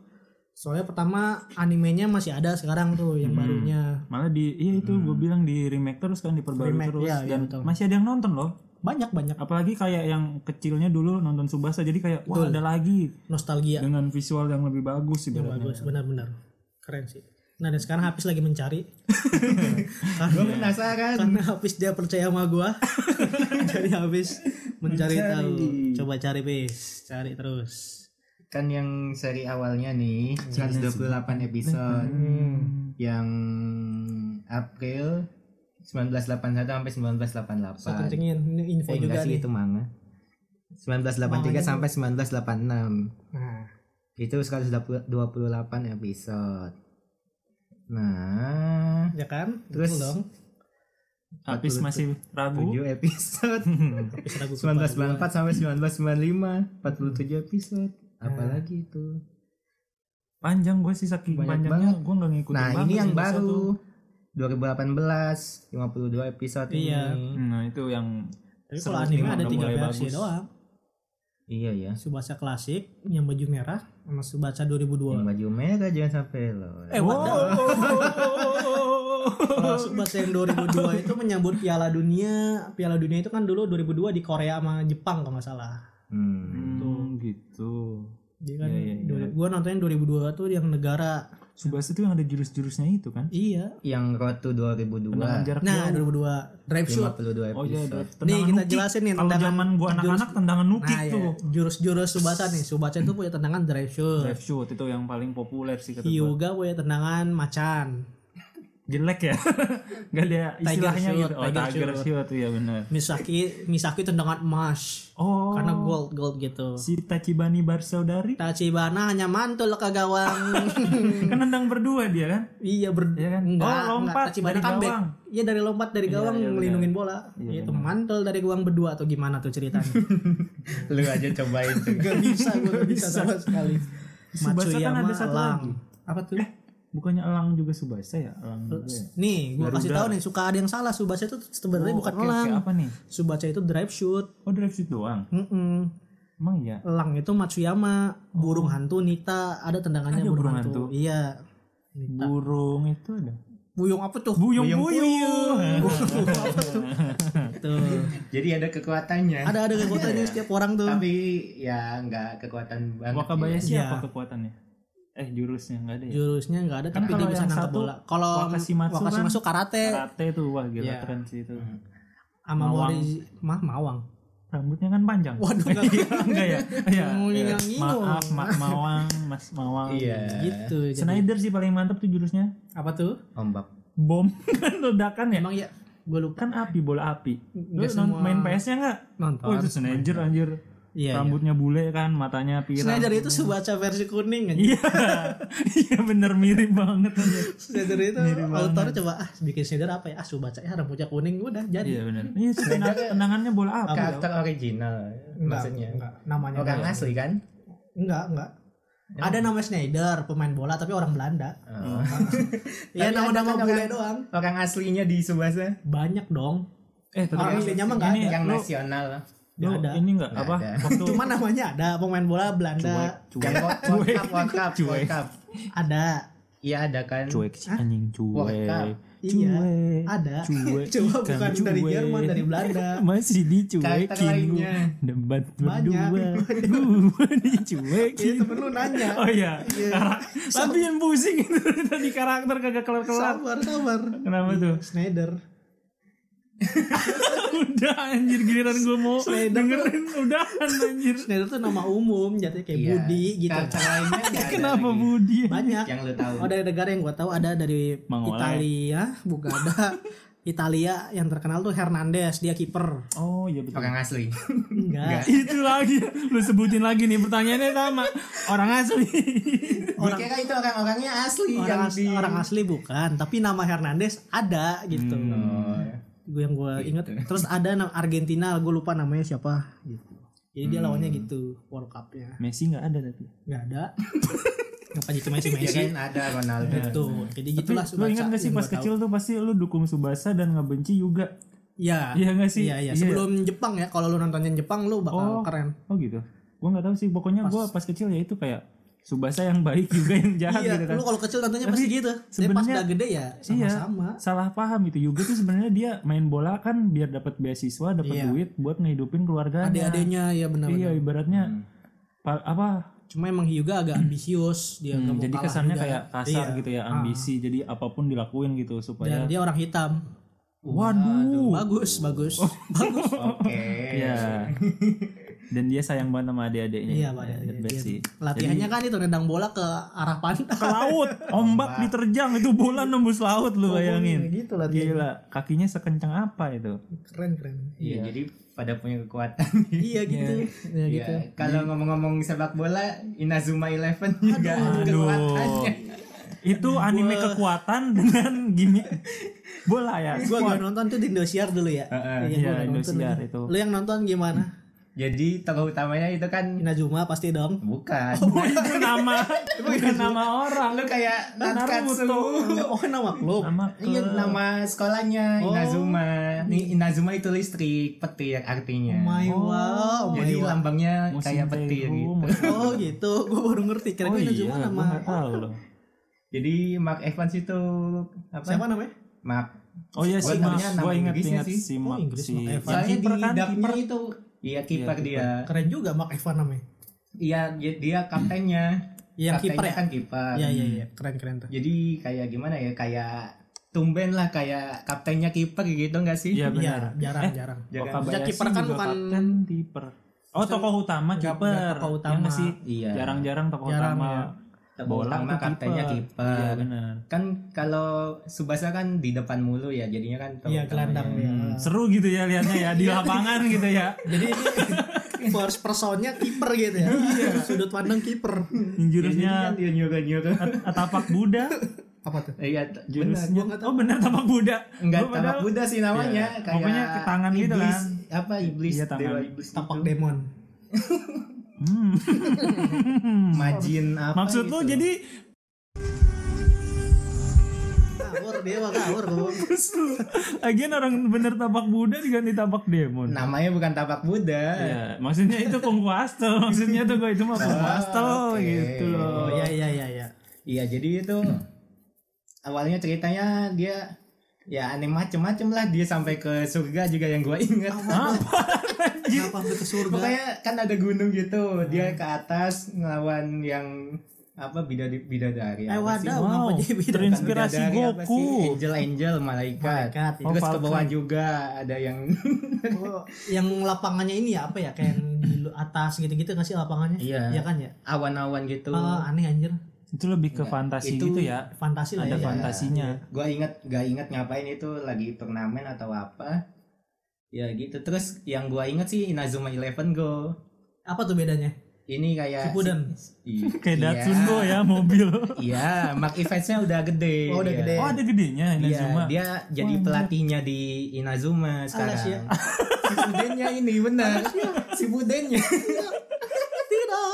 soalnya pertama animenya masih ada sekarang tuh yang
Hmm.
barunya
malah di iya itu gue bilang di remake terus kan diperbarui
Remake,
terus
iya, iya,
dan
betul.
masih ada yang nonton loh
banyak banyak
apalagi kayak yang kecilnya dulu nonton Subasa jadi kayak wah
Betul.
ada lagi
nostalgia
dengan visual yang lebih bagus
yang
ibaratnya
bagus benar-benar keren sih nah dan sekarang Hafiz lagi
[LAUGHS]
mencari
gue
Iya.
penasaran.
karena Hafiz dia percaya sama gue [LAUGHS] jadi Hafiz mencari tahu coba cari bis cari terus
Kan yang seri awalnya nih 128 episode.
Hmm.
Yang April 1981 sampai 1988.
Saya kencengin ini info
Eh,
juga
enggak sih
nih.
itu manga. 1983 sampai 1986.
Nah,
Itu 128 episode. Nah,
ya kan?
Terus-
Betul dong.
habis masih ragu
7
[LAUGHS]
episode.
Habis ragu
1994 sampai 1995, 47 episode.
Nah,
Apalagi itu.
[LAUGHS] panjang gue sih saking
Banyak
panjangnya gue nggak ngikutin
Nah,
banget
ini yang
Tsubasa tuh.
baru. 2018, 52 episode
Iya.
ini.
nah itu yang
Tapi kalau
Seru,
anime
emang
ada
udah
tiga
mulai
versi
bagus.
doang.
Iya ya.
Subasa klasik yang baju merah sama Subasa 2002.
Yang
Hmm.
baju merah jangan sampai loh.
Eh, what the- [LAUGHS] Kalau Subasa yang 2002 itu menyambut Piala Dunia. Piala Dunia itu kan dulu 2002 di Korea sama Jepang kalau nggak salah.
Hmm.
Hmm, gitu
Jadi kan
Iya, iya, iya.
dua- gua nontonnya 2002 tuh yang negara.
Subasa tuh yang ada jurus-jurusnya itu kan
Iya.
Yang Rotu 2002.
tendangan jarak
Nah,
jauh
2002 Drive Shoot. Nah,
52 episode.
oh iya ada
Nih
tendangan
kita
nukik.
jelasin nih
kalau
tendangan
zaman gue anak-anak tendangan nukik
Nah, ya,
tuh
jurus-jurus Subasa nih. Subasa itu punya tendangan drive shoot.
Drive shoot itu yang paling populer sih kata gua.
Hyuga punya tendangan macan.
Jelek ya. [LAUGHS] Gak ada istilahnya
shoot,
gitu. Oh,
tiger
tiger,
shoot.
shoot iya benar.
Misaki Misaki tendangan emas
Oh.
karena gold gold gitu.
si Tachibani Barsaudari
Tachibana hanya mantul ke
[LAUGHS]
gawang.
kan nendang berdua dia kan.
iya ber
Iya kan?
enggak,
Oh, lompat
enggak. Tachibana
dari
kan back.
gawang.
Iya dari lompat dari gawang
iya,
ngelindungin bola. itu mantul dari gawang berdua atau gimana tuh
[LAUGHS]
ceritanya? iya.
Lu aja cobain
[LAUGHS]
tuh.
gak bisa, gue gak bisa sama sekali.
Subasa kan
Matsuyama
ada satu
Lang.
lagi.
Apa tuh?
Bukannya Elang juga Subasa ya? Elang juga ya?
Nih, gue kasih tahu nih suka ada yang salah. Subasa itu sebenarnya
Oh,
bukan
oke, oke,
elang.
apa nih?
Subasa itu drive shoot.
Oh, drive shoot doang.
Mm-mm.
Emang iya.
Elang itu Matsuyama, burung hantu Nita, ada tendangannya
Oh. Ada
burung,
burung
hantu.
hantu.
Iya. Nita.
Burung itu ada.
Buyung apa tuh?
Buyung [LAUGHS] buyung.
Buyung apa tuh? tuh.
Jadi ada kekuatannya.
Ada ada kekuatannya setiap orang tuh.
Eh. Tapi ya nggak kekuatan banget.
Wakabayashi
Iya.
apa kekuatannya? Eh, jurusnya nggak ada ya?
Jurusnya nggak ada
Kan
tapi dia
kalau
bisa
yang
nangkep
satu,
bola. Kalau
Wakashimatsu kan?
Wakashimatsu masuk karate
Karate tuh wah gila
Iya.
keren sih itu.
sama
Mawang.
Mori mah mawang.
Rambutnya kan panjang.
Waduh nggak
Iya, [LAUGHS] enggak
[LAUGHS]
ya? Iya.
Nguling
iya.
yang ini
Maaf, Ma Mawang, Mas Mawang.
Iya.
gitu. jadi-
Snyder sih paling mantap tuh jurusnya.
apa tuh?
Ombak.
Bom [LAUGHS] kan ledakan ya.
Emang ya gue lupa
Kan api bola api. Lu
Nggak semua-
non- main PS-nya enggak?
nonton.
Oh, itu Snyder anjir.
Iya. iya.
Rambutnya bule kan, matanya pirang.
Snyder itu Subasa versi kuning kan.
Iya. [LAUGHS] Iya bener mirip banget anjir.
Snyder itu autor coba ah bikin Snyder apa ya? Ah Subasa ya rambutnya kuning udah jadi.
Iya bener. Iya, tenang- tenangannya bola api.
Karakter original maksudnya.
enggak. Namanya
Orang
doang.
asli kan?
Enggak, enggak. Ada nama Schneider, pemain bola tapi orang Belanda.
Oh.
[LAUGHS] Iya,
Tapi
nama-nama
ada kan
bule
orang-
doang.
Orang aslinya di Subasa.
Banyak dong.
Eh, tapi
Orang aslinya Ah, mah enggak
ini
ada.
Yang
lu-
nasional.
lu
Nggak ada.
ini enggak
Nggak
apa?
ada.
Waktu
Cuma namanya ada pemain bola
cuek,
Belanda.
cuek.
Yang World Cup, World Cup, World Cup.
Ada.
Iya ada kan?
cuek si anjing cuek
Wakaf.
Iya,
cuek
Ada. [LAUGHS]
cuek
Coba
ikan
bukan dari
cuek.
Jerman, dari
[LAUGHS]
Belanda. [LAUGHS]
masih
Karakter
dicuekin
lainnya.
gua debat
Banyak.
berdua [LAUGHS] gua
Iya,
dicuekin
temen lu nanya.
oh iya Karak- tapi yang pusing itu tadi karakter kagak kelar kelar
Sabar, sabar.
kenapa tuh
Schneider.
udah anjir giliran gue mau
Snyder
dengerin udahan anjir
Schneider tuh nama umum jatuhnya
Iya.
kayak Budi gitu
Cara lainnya nggak ada
kenapa
lagi
Budi
Iya. banyak
Kan. Yang lu tahu.
oh dari negara yang gue tahu ada dari
Mang Oleh.
Italia bukan ada Italia yang terkenal tuh Hernandez dia kiper
oh iya betul
Orang
[LAUGHS]
asli.
enggak
itu lagi lu sebutin lagi nih pertanyaannya sama orang
[LAUGHS]
asli
Gue kira itu orang-orangnya asli yang
orang, as-
di-
orang asli bukan tapi nama Hernandez ada gitu
Hmm.
Oh,
gue yang gue
Iya.
inget terus ada na- Argentina gue lupa namanya siapa gitu jadi
Hmm.
dia lawannya gitu World Cup-nya
Messi nggak ada tapi
nggak
[LAUGHS]
ada ngapain cuma si Messi
Kirain Iya kan? ada Ronaldo.
gitu jadi
Iya, kan? tapi
gitulah
lu
Subasa
ingat gak sih
yang
pas
gua tahu.
kecil tuh pasti lu dukung Subasa dan ngebenci juga
Iya.
Iya nggak sih?
Iya, iya.
Iya.
Sebelum Jepang ya, kalau lu nontonin Jepang lu bakal
Oh.
keren.
oh gitu gua nggak tahu sih pokoknya gua pas kecil ya itu kayak Subasa yang baik [LAUGHS] juga yang jahat
Iya,
gitu kan
lu kalau kecil nontonnya
Tapi
pasti gitu. Tapi pas
sebenarnya-
udah gede ya sama-sama.
Iya, salah paham itu Yuga tuh sebenarnya dia main bola kan biar dapat beasiswa, dapat
Iya.
duit buat ngehidupin keluarga.
Adik-adiknya Hmm. ya
Iya,
benar-benar.
ibaratnya pa- apa?
Cuma emang Hyuga agak ambisius, dia nggak
hmm,
mau
jadi
kalah
kesannya
Iya, juga.
kayak kasar
Iya.
gitu ya, ambisi. Jadi apapun dilakuin gitu
Dan
supaya
dia orang hitam.
waduh.
Bagus, bagus. [LAUGHS] bagus.
[LAUGHS] Oke.
Iya. Dan dia sayang banget sama adik-adiknya.
Iya,
Ya,
padahal
that
dia-
best sih.
dia- Latihannya kan itu nendang bola ke arah
Ke [LAUGHS]
pantai.
laut, ombak diterjang itu bola nembus laut lu bayangin.
Gitu lah dia.
Gila, kakinya sekencang apa itu?
Keren, keren.
Iya, jadi pada punya kekuatan.
Iya gitu. Iya gitu.
Iya. Kalau ngomong-ngomong sepak bola, Inazuma Eleven juga
Aduh.
ada kekuatannya.
Itu anime kekuatan dengan gimmick bola ya.
Gua gua nonton tuh di Indosiar dulu ya. Iya, gua
Iya,
nonton
Indosiar
lagi. [LAUGHS]
itu.
Lu yang nonton gimana?
Jadi tokoh utamanya itu kan
Inazuma pasti dong.
[LAUGHS] bukan.
Oh, itu nama bukan nama orang.
Lu kayak
Nah,
Nankatsu.
Oh, nama klub.
Nama
Iya
Oh.
nama sekolahnya Inazuma. Ini Inazuma itu listrik petir artinya.
Oh My Iya. wow. my
Jadi
wow.
lambangnya
Musim
kayak petir
Teihu,
gitu.
musim-
Oh gitu, gue baru ngerti. Kira
Oh
kira
iya,
Inazuma nama
gua nggak tahu loh.
Jadi Mark Evans itu apa?
siapa namanya?
Mark.
Oh iya
Gua
si Mas,
taunya nama
gua ingat
Inggrisnya
ingat
sih.
si Mas
Inggris,
si
Mark Evans.
yang
Soalnya di
kiper kan
dapnya
kiper.
itu Iya kiper
kiper.
dia.
Keren juga Mark Evan namanya.
Iya dia- dia kaptennya.
Iya, yang
Kaptennya
kiper ya?
kan kiper.
Iya iya iya, keren keren tuh.
Jadi kayak gimana ya? Kayak tumben lah kayak kaptennya kiper gitu enggak sih?
Iya benar.
Iya, jarang
Eh,
jarang.
[LAUGHS] Jangan-
Wakabayashi
Ya, kiper kan
juga
bukan-
kapten, kiper. Oh tokoh utama
Nggak-
kiper.
nggak tokoh
Yang
utama.
masih
Iya.
jarang-jarang tokoh
Jarang,
utama.
ya.
Bola
Bola sama
tuh
kaptennya kiper.
Iya benar.
Kan kalau Subasa kan di depan mulu ya, jadinya kan tahu
Iya
utamanya.
gelandang ya.
Seru gitu ya liatnya ya
Iya.
di lapangan gitu ya.
Jadi ini [LAUGHS] first personnya kiper gitu ya.
Iya.
Sudut pandang kiper.
Jadi kan
Jurusnya
dia nyuruh-nyuruh.
[LAUGHS] Atapak Buddha.
Apa tuh?
Iya, t- benar.
Jurusnya. Oh benar tapak Buddha.
Enggak
Gua
tapak
padahal-
Buddha sih namanya,
Iya.
kayak
Pokoknya ke tangan
iblis,
gitu kan.
Apa iblis?
Iya, tangan.
Dewa iblis
Tapak
gitu.
demon.
Hmm.
Majin apa
Maksud lu
gitu.
jadi [LAUGHS]
Kawur dewa kawur. gua.
lagian orang bener tapak Buddha diganti tapak demon.
namanya bukan tapak Buddha.
Iya, maksudnya itu kungfu
[LAUGHS]
hustle. Maksudnya tuh gue itu mah kungfu
Oh,
hustle
oke.
gitu
Oh
loh.
iya iya iya iya.
Iya, jadi
[CLEARS THROAT]
itu awalnya ceritanya dia ya aneh macem-macem lah dia sampai ke surga juga yang gua inget.
Ah, Kenapa sampai ke surga?
Pokoknya kan ada gunung gitu, dia
Ah.
ke atas ngelawan yang apa bidadari bidadari
Eh
apa sih?
wadah,
Wow,
kenapa jadi beda?
Bukan
terinspirasi
bidadari kan, apa
Goku.
sih? Angel angel malaikat.
Malaikat, ya.
Terus ke
Falcon.
bawah juga ada yang [LAUGHS]
Oh, yang lapangannya ini ya apa ya kayak yang di lu- atas gitu-gitu nggak sih lapangannya
Iya.
Iya kan ya
awan-awan gitu.
Ah, aneh anjir
Itu lebih ke fantasi
itu Iya.
gitu ya.
fantasi lah
Ada
ya
fantasinya.
Gua ingat gak ingat ngapain itu lagi turnamen atau apa. Ya gitu. Terus yang gua inget sih Inazuma Eleven go.
apa tuh bedanya
Ini kayak
Shippuden
I-
Kayak
iya.
Datsun gue
[LAUGHS]
ya mobil.
Iya, Mark Evans-nya udah gede.
Oh, udah
dia.
gede.
Oh ada gedenya
Iya,
Inazuma. Oh, iya.
dia jadi
Wah,
pelatihnya di Inazuma sekarang. ya.
Alas ya. [LAUGHS]
si Budennya ini benar. si Budennya.
tidak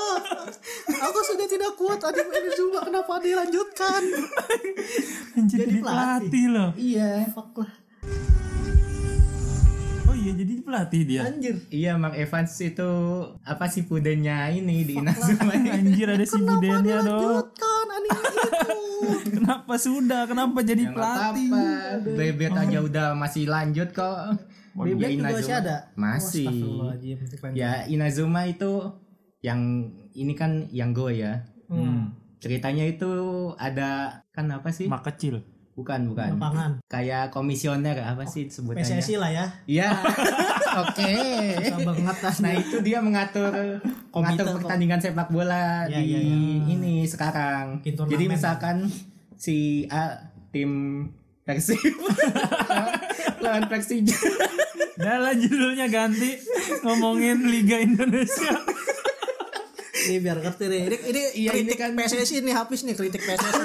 aku sudah tidak kuat anime ini Zuma kenapa dilanjutkan
Anjir,
jadi
[LAUGHS]
pelatih.
jadi pelatih loh.
iya.
fuck lah
Oh iya jadi pelatih dia.
anjir
Iya, Mark Evans itu apa si Budennya ini di Inazuma.
Anjir ada si budennya dong.
dilanjutkan anime itu
Kenapa sudah? Kenapa jadi
Yang
pelatih?
apa Bebet
Oh,
aja
iya.
udah masih lanjut kok.
Bebek
Ya,
juga masih ada? Oh,
Masih.
Astagfirullahaladzim, keren.
Ya Inazuma itu yang ini kan yang go ya.
Hmm.
Ceritanya itu ada kan apa sih?
Mak kecil.
Bukan, bukan.
lapangan
Kayak komisioner apa sih sebutannya?
PSSI lah ya [LAUGHS]
Iya. Oke.
Susah banget
Nah, itu dia mengatur
Komite
mengatur
kok.
pertandingan sepak bola
Iya,
di
iya, iya.
ini sekarang.
Bikin turnamen.
Jadi misalkan si A tim Persib [LAUGHS] lawan Persija.
Dalam judulnya ganti ngomongin Liga Indonesia.
[LAUGHS] ini biar ngerti deh ini ini
Iya, ini
kritik
kan-
PSSI nih habis nih kritik PSSI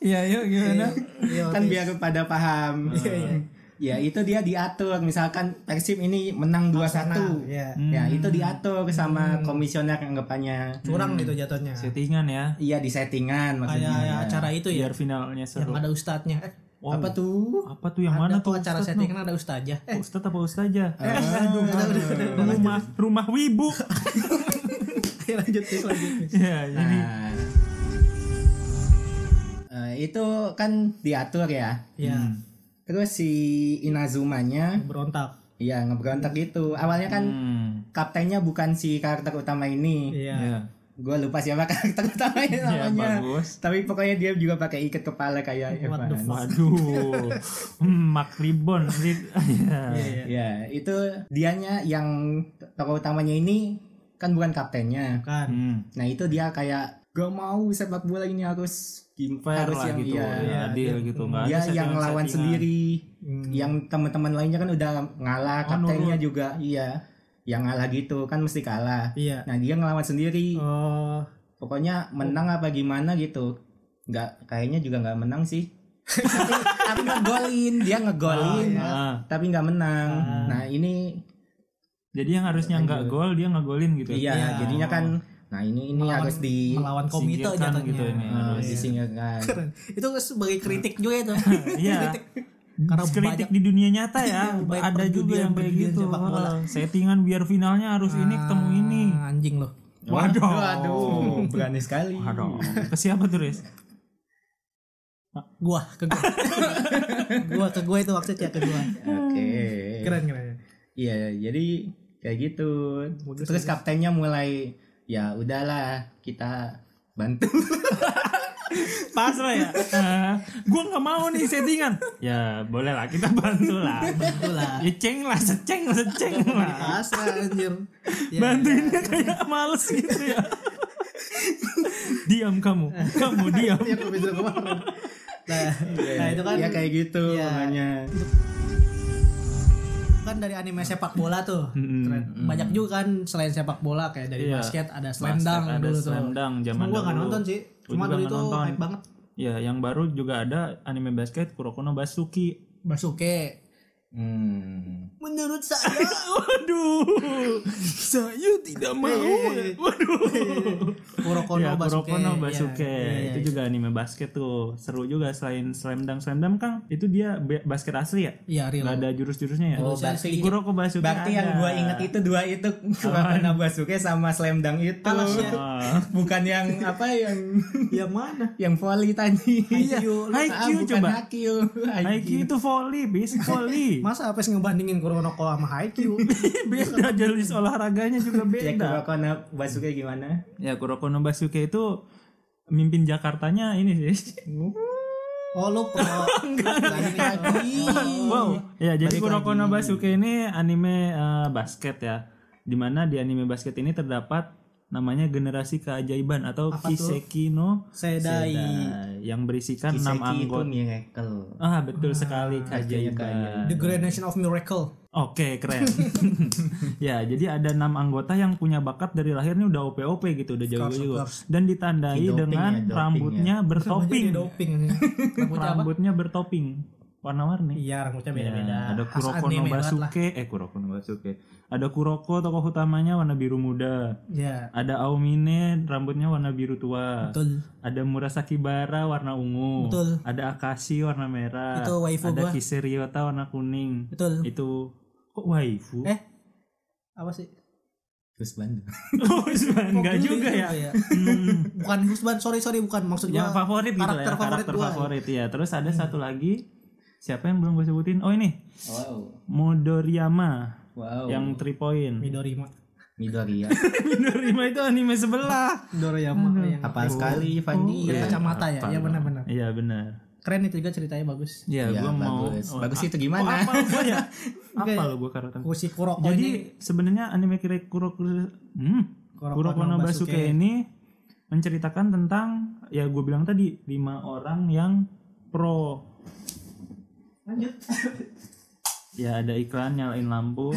Iya, yuk gimana?
Iya,
kan
oke.
biar pada paham.
Iya,
Ya itu dia diatur misalkan Persib ini menang 2-1.
Iya.
Ya itu diatur
Hmm.
sama komisioner anggapannya.
curang gitu jatuhnya
Settingan ya,
Iya di settingan maksudnya. iya.
kayak acara itu ya
biar finalnya
yang
seru.
ada ustadznya eh,
Wow.
apa tuh
Apa tuh Iya. yang mana
ada tuh
tuh?
acara
Ustadz,
settingan ada ustadznya
no?
eh,
Ustadz apa ustazah?
eh, [LAUGHS] aduh, udah, udah, udah, udah,
rumah rumah
[LAUGHS]
wibu.
lanjut, lanjut, Tis, lanjut, Tis.
Iya, jadi
Nah, eh, itu kan diatur ya.
ya
Terus si Inazumanya
berontak
ya ngeberontak gitu. Awalnya kan
hmm,
kaptennya bukan si karakter utama ini.
iya
iya.
Gue lupa siapa [LAUGHS] karakter utama ini
Iya,
namanya.
bagus.
Tapi pokoknya dia juga pakai ikat kepala kayak
What the
Evan.
fuck? [LAUGHS]
Waduh. Hmm, Mak Ribon. Ri- Iya.
Iya, iya.
Ya, itu dianya yang tokoh utamanya ini kan bukan kaptennya.
kan
Hmm,
Nah, itu dia kayak gak mau sepak bola ini harus
fair
harus
lah
yang
gitu.
iya,
ya, adil gitu enggak
dia yang lawan sendiri
Hmm.
yang teman-teman lainnya kan udah ngalah
Oh,
kaptennya juga iya yang ngalah gitu kan mesti kalah
iya
nah dia ngelawan sendiri
oh
pokoknya menang apa gimana gitu nggak kayaknya juga nggak menang sih tapi, tapi ngegolin dia ngegolin Ah, iya.
Ah,
tapi nggak menang
Ah.
nah ini
Jadi yang harusnya nggak gol dia ngegolin gitu.
iya
Iya.
jadinya kan nah ini ini
Melawan-
harus di
melawan komite
Singkirkan
jatuhnya
gitu
Ah,
ini,
eh,
harus.
iya.
disingkirkan
Keren. itu sebagai kritik juga itu
[LAUGHS] Iya.
[LAUGHS]
kritik karena
kritik
banyak
di dunia nyata ya
Iya, banyak
ada juga
perjudian-
yang kayak
perjudian
gitu
sepak bola.
Oh, settingan biar finalnya harus ini ketemu ini
Ah, anjing loh
Waduh.
waduh berani sekali
aduh ke siapa tuh Riz?
gua ke
[LAUGHS]
gua gua ke gua itu maksudnya ke gua
oke
keren keren
Iya, jadi kayak gitu. Terus kaptennya mulai ya udahlah kita bantu.
pasrah ya Eh, gua nggak mau nih settingan ya boleh lah kita bantu lah
[LAUGHS]
Bantu lah.
ya ceng lah seceng seceng lah
Asa anjir Ya,
bantuinnya kayak males gitu ya diam kamu kamu diam
Yang gue bisa kemarin.
Iya,
nah, nah, itu kan
ya kayak gitu
Iya.
makanya.
kan dari anime sepak bola tuh
Mm-mm.
Keren. banyak juga kan selain sepak bola kayak dari
Iya.
basket ada slam
Basket
dunk
ada
dulu tuh
slam dunk zaman
Cuma gua nggak
dahulu.
nonton sih
Gua
cuma
juga
dulu
nggak
itu
nonton.
hype banget
ya yang baru juga ada anime basket Kurokono Basuki
Basuke
Hmm.
menurut saya
[LAUGHS] Waduh, saya tidak mau. Waduh.
Kurokono
ya,
Basuke
Kurokono
Iya,
Basuke.
iya,
itu
iya.
juga anime basket tuh. Seru juga selain Slam Dunk. Slam Dunk kan itu dia be- basket asli ya?
iya real
Gak ada jurus-jurusnya ya?
Oh, berarti-
Kuroko Basuke
Berarti yang
ada.
gue inget itu dua itu Kurokona Basuke sama Slam Dunk itu.
Alas ya.
[LAUGHS] Ah.
[LAUGHS] Bukan yang apa yang
yang
Ya,
mana
yang volley tadi.
Haikyuu, lu-
Haikyuu
bukan
coba.
Haikyuu. Nah,
Haikyuu itu volley, bis [LAUGHS] volley.
Masa apa sih ngebandingin Kurono Koa sama
[LAUGHS]
Haikyuu?
beda jenis olahraganya juga
Ya
beda.
Kurokona Basuke gimana?
Ya Kuroko no Basuke itu mimpin Jakartanya ini sih.
oh lu pro. Lagi lagi.
Wow. Ya, jadi
Balik
Kuroko
lagi.
no Basuke ini anime eh, basket ya. Dimana di anime basket ini terdapat namanya generasi keajaiban atau
Apa tuh?
Kiseki no
Sedai.
Sedai, yang berisikan Kan enam
Kiseki itu
anggota.
miracle.
Ah, betul sekali
Kayaknya
keajaiban.
The Great Nation of Miracle.
Oke, keren. ya, jadi ada enam anggota yang punya bakat dari lahirnya udah OP-OP gitu, udah jago-jago.
course.
Dan ditandai
Doping ya,
dengan
doping ya.
rambutnya bertoping.
Jadi
[LAUGHS]
doping. Rambutnya apa?
Rambutnya bertoping. Warna-warni.
Iya, rambutnya beda-beda.
Ya, ada
Khas
Kuroko
anime
no
banget lah.
Basuke, eh Kuroko no Basuke. Ada Kuroko tokoh utamanya warna biru muda.
Iya.
Ada Aomine rambutnya warna biru tua.
Betul.
Ada Murasaki Bara warna ungu.
Betul.
Ada Akashi warna merah.
Itu waifu
ah, ada
gua.
Kiseriota warna kuning.
Betul.
Itu kok waifu?
Eh. Apa sih?
Terus Bandung.
Oh, enggak
Kok
juga
gitu
ya.
ya?
Hmm.
[LAUGHS] Bukan Husban, sorry sorry bukan maksud
yang
gua.
favorit gitu
karakter
ya,
favorit
karakter
gua. Hmm.
favorit ya. Terus ada satu lagi siapa yang belum gue sebutin? Oh ini
Wow.
Modoriyama
Oh.
Wow.
yang 3 point.
Midorima.
Midoriya.
Minorima itu anime sebelah.
Midoriyama yang
iya. Hafal sekali
Iya.
Fandi.
Yang Mhm. kacamata ya,
Hafal.
ya benar-benar.
Iya benar.
keren itu juga ceritanya bagus
Ya,
Ya,
gua mau
bagus.
oh,
bagus
a-
itu gimana?
apa gua ya? apa
Enggak.
lo gua karatan?
si Kuroko
Jadi
ini
sebenarnya anime kira Kuro hmm,
Kuroko
Kuroko
no
no Basuke
Basuke.
ini menceritakan tentang ya gue bilang tadi lima orang yang pro ya ada iklan nyalain lampu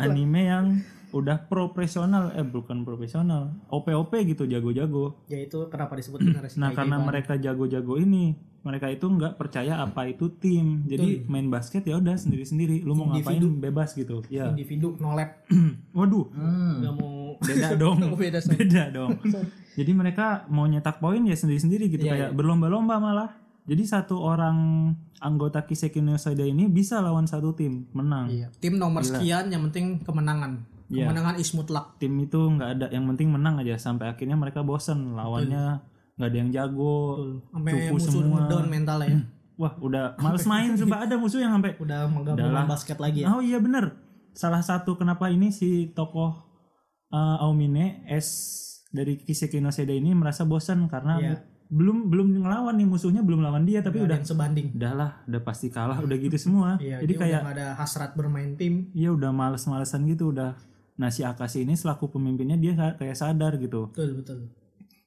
anime yang udah profesional eh bukan profesional op op gitu jago-jago
ya itu kenapa disebut generasi gitu?
nah
keajaiban.
karena mereka jago-jago ini mereka itu nggak percaya apa itu tim jadi main basket ya udah sendiri-sendiri lu mau ngapain bebas gitu ya
individu nolep
waduh
Hmm.
nggak mau
Hmm.
[LAUGHS]
beda dong
Oh, beda, sorry.
beda dong
[LAUGHS]
jadi mereka mau nyetak poin ya sendiri sendiri gitu
Iya,
kayak berlomba-lomba malah jadi satu orang anggota Kiseki no Soda ini bisa lawan satu tim menang
Iya. tim nomor sekian yang penting kemenangan
Iya.
kemenangan is mutlak
tim itu nggak ada yang penting menang aja sampai akhirnya mereka bosen lawannya nggak ada yang jago
sampai
Cupu
musuh
semua. Hmm.
down mentalnya ya
wah udah males main
[LAUGHS]
sumpah ada musuh yang sampai
udah menggabung
Udah lah.
basket lagi ya
oh iya bener salah satu kenapa ini si tokoh uh, Aomine S dari Kiseki no Soda ini merasa bosan karena
Iya.
belum belum ngelawan nih musuhnya belum lawan dia tapi
Nggak ada
udah
yang sebanding
udahlah udah pasti kalah udah
[LAUGHS]
gitu semua
Iya,
jadi
dia
kayak
udah nggak ada hasrat bermain tim
ya udah males-malesan gitu udah nah si Akashi ini selaku pemimpinnya dia sa- kayak sadar gitu
betul betul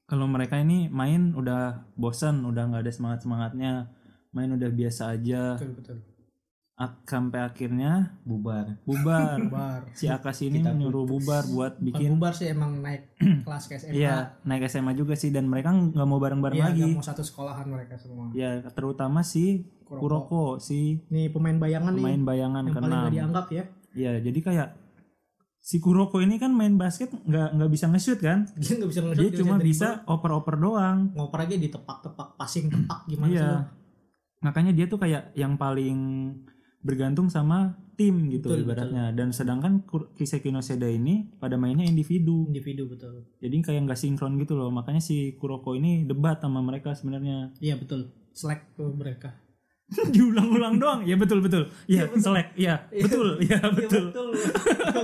kalau mereka ini main udah bosan udah nggak ada semangat semangatnya main udah biasa aja
betul betul
Ak- sampai akhirnya
Bubar.
[LAUGHS]
bubar
bar
si Akashi ini
Kita
menyuruh bubar buat
Bukan
bikin
bubar sih emang
[CLEARS THROAT]
naik kelas ke SMA
Iya naik SMA juga sih dan mereka nggak mau bareng-bareng
Iya,
lagi
nggak mau satu sekolahan mereka semua
ya terutama si
Kuroko.
Kuroko si
nih pemain bayangan nih
main bayangan
yang paling
keenam
gak dianggap ya [LAUGHS]
Ya, jadi kayak si Kuroko ini kan main basket nggak nggak bisa nge-shoot kan?
dia nggak bisa
Dia
ngejut
cuma bisa oper-oper doang.
ngoper aja ditepak-tepak passing tepak gimana
Iya.
sih lu?
Makanya dia tuh kayak yang paling bergantung sama tim gitu
Betul,
ibaratnya. Dan sedangkan Kur- Kiseki no Seda ini pada mainnya individu.
individu betul
Jadi kayak nggak sinkron gitu loh. Makanya si Kuroko ini debat sama mereka sebenarnya.
iya betul slack tuh mereka
Diulang-ulang doang. Ya betul betul.
Iya,
Ya, selek. Ya, betul. Ya, [LAUGHS] betul. [LAUGHS]
betul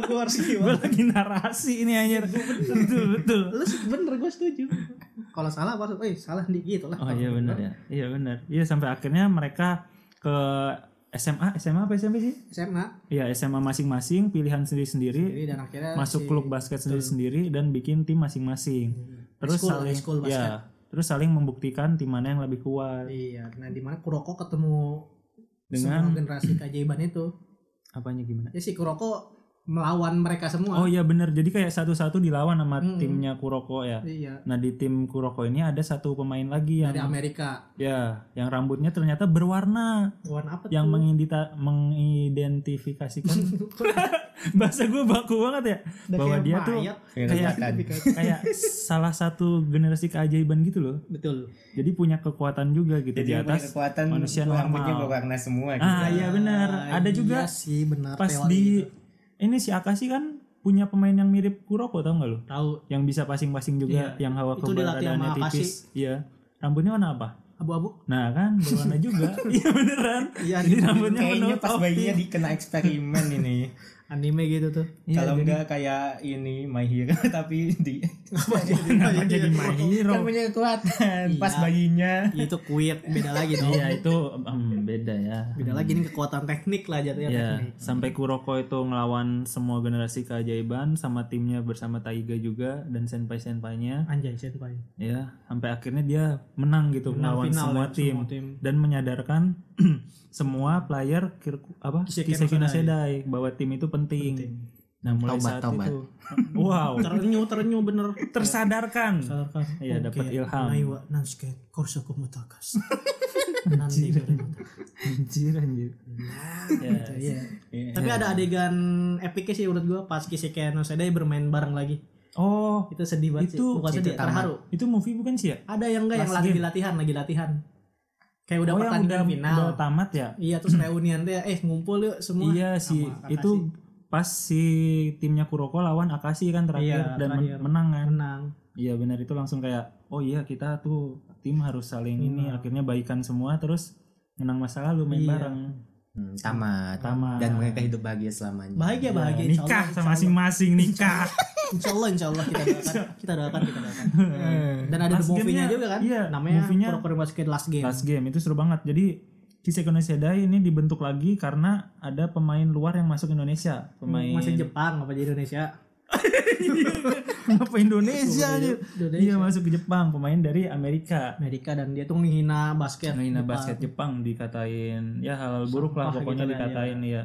gue harus
Gue
gimana
lagi narasi ini anjir.
Iya,
[LAUGHS] betul betul.
lu sih bener gue setuju kalau salah gue eh salah nih gitu lah
Oh iya benar ya. Iya benar. Iya sampai akhirnya mereka ke SMA, SMA apa SMP sih?
SMA
Iya, SMA masing-masing, pilihan sendiri-sendiri,
jadi dan akhirnya si-
masuk klub basket sendiri-sendiri dan bikin tim masing-masing. Terus
School,
saling
school
ya,
basket.
terus saling membuktikan tim mana yang lebih kuat
iya nah di mana Kuroko ketemu
dengan
semua generasi keajaiban itu
apanya gimana?
ya si Kuroko melawan mereka semua
Oh iya benar. Jadi kayak satu-satu dilawan sama
Mm-mm.
timnya Kuroko ya.
iya
Nah, di tim Kuroko ini ada satu pemain lagi yang
dari Amerika
ya, yang rambutnya ternyata berwarna
warna apa
yang
tuh?
mengidita-
[LAUGHS]
mengidentifikasikan bahasa gue baku banget ya
[LAUGHS] Udah
bahwa
kayak
dia tuh
mayat.
kayak
Iya,
Kayak [LAUGHS]
kayak salah satu generasi keajaiban gitu loh
betul
jadi punya kekuatan juga gitu
Jadi
di
punya
atas
kekuatan
manusia
rambutnya
normal.
berwarna semua gitu.
ah iya benar ada
iya
juga
sih benar
pas
teori
di
itu.
ini si Akashi kan punya pemain yang mirip Kuroko tau nggak lo
tahu
yang bisa passing-passing juga
Iya.
yang hawa
Itu dilatih sama
keberadaannya
Akashi.
tipis iya rambutnya warna apa
abu-abu
nah kan berwarna
[LAUGHS]
juga iya beneran
Iya,
jadi
gitu.
rambutnya
Kayaknya
penuh
pas
topi.
bayinya dikena eksperimen [LAUGHS] ini.
anime gitu tuh
Iya,
Kalau
jadi-
enggak kayak ini My Hero [LAUGHS] tapi di
apa
Kenapa [LAUGHS] jadi My Hero?
kan punya kekuatan pas
Iya.
bayinya.
itu kuit beda lagi dong
Iya itu em, beda ya.
beda lagi ini kekuatan teknik lah jatuhnya
Ya,
teknik
sampai Kuroko itu ngelawan semua generasi keajaiban sama timnya bersama Taiga juga dan senpai-senpainya.
anjay senpai
Ya, sampai akhirnya dia menang gitu
Menang
melawan
final
semua,
ya,
tim,
semua tim.
dan menyadarkan [CLEARS THROAT] semua player kir, apa
Kiseki no
Kiseki no
Sedai.
Sedai bahwa tim itu penting. Nah, mulai
Taubat,
saat
taubat.
itu wow,
terenyu terenyu bener
[LAUGHS] tersadarkan.
Sadarkan.
Iya, dapat
Oke,
ilham.
nai wa nansuke korsoku
[LAUGHS]
mutakas nanti
Anjir anjir. Ya,
Iya.
Iya.
Tapi ada adegan epiknya sih menurut gua pas Kiseki no Sedai bermain bareng lagi.
Oh,
Itu sedih banget sih.
Itu-
Bukan
itu
sedih,
tamat.
terharu.
itu movie bukan sih ya?
Ada yang enggak yang
Last
lagi
game.
latihan, lagi latihan. Kayak udah
oh, yang
pertandingan
udah,
final.
udah tamat ya?
[CLEARS THROAT] Iya terus reunian tuh ya, eh ngumpul yuk semua.
Iya sih,
Sama Kakashi.
itu pas si timnya Kuroko lawan Akashi kan
Iya,
terakhir dan men-
terakhir.
menang kan.
menang.
Iya benar itu langsung kayak oh iya kita tuh tim harus saling ini akhirnya baikan semua terus menang masa lalu main
Iya.
bareng.
Hmm, tamat.
Tamat.
Dan mereka hidup bahagia selamanya.
Bahagia bahagia
Nikah sama Iya, masing-masing nikah.
Insya Allah, insya Allah kita doakan, kita doakan, kita
[LAUGHS]
doakan. Dan ada the
Eh, Last
movie-nya
game-nya,
juga [LAUGHS] kan?
iya,
Namanya
movie-nya-
Kurokuri Basket Last Game.
Last game itu seru banget. Jadi Kiseko no Sedai ini dibentuk lagi karena ada pemain luar yang masuk Indonesia. Pemain
Masih Jepang apa di Indonesia?
Apa [LAUGHS] Indonesia dia?
Indonesia.
Iya masuk ke Jepang, pemain dari Amerika.
Amerika dan dia tuh menghina basket.
Main basket Jepang dikatain ya halal buruk lah
Sampah gitu
pokoknya
lah,
dikatain ya.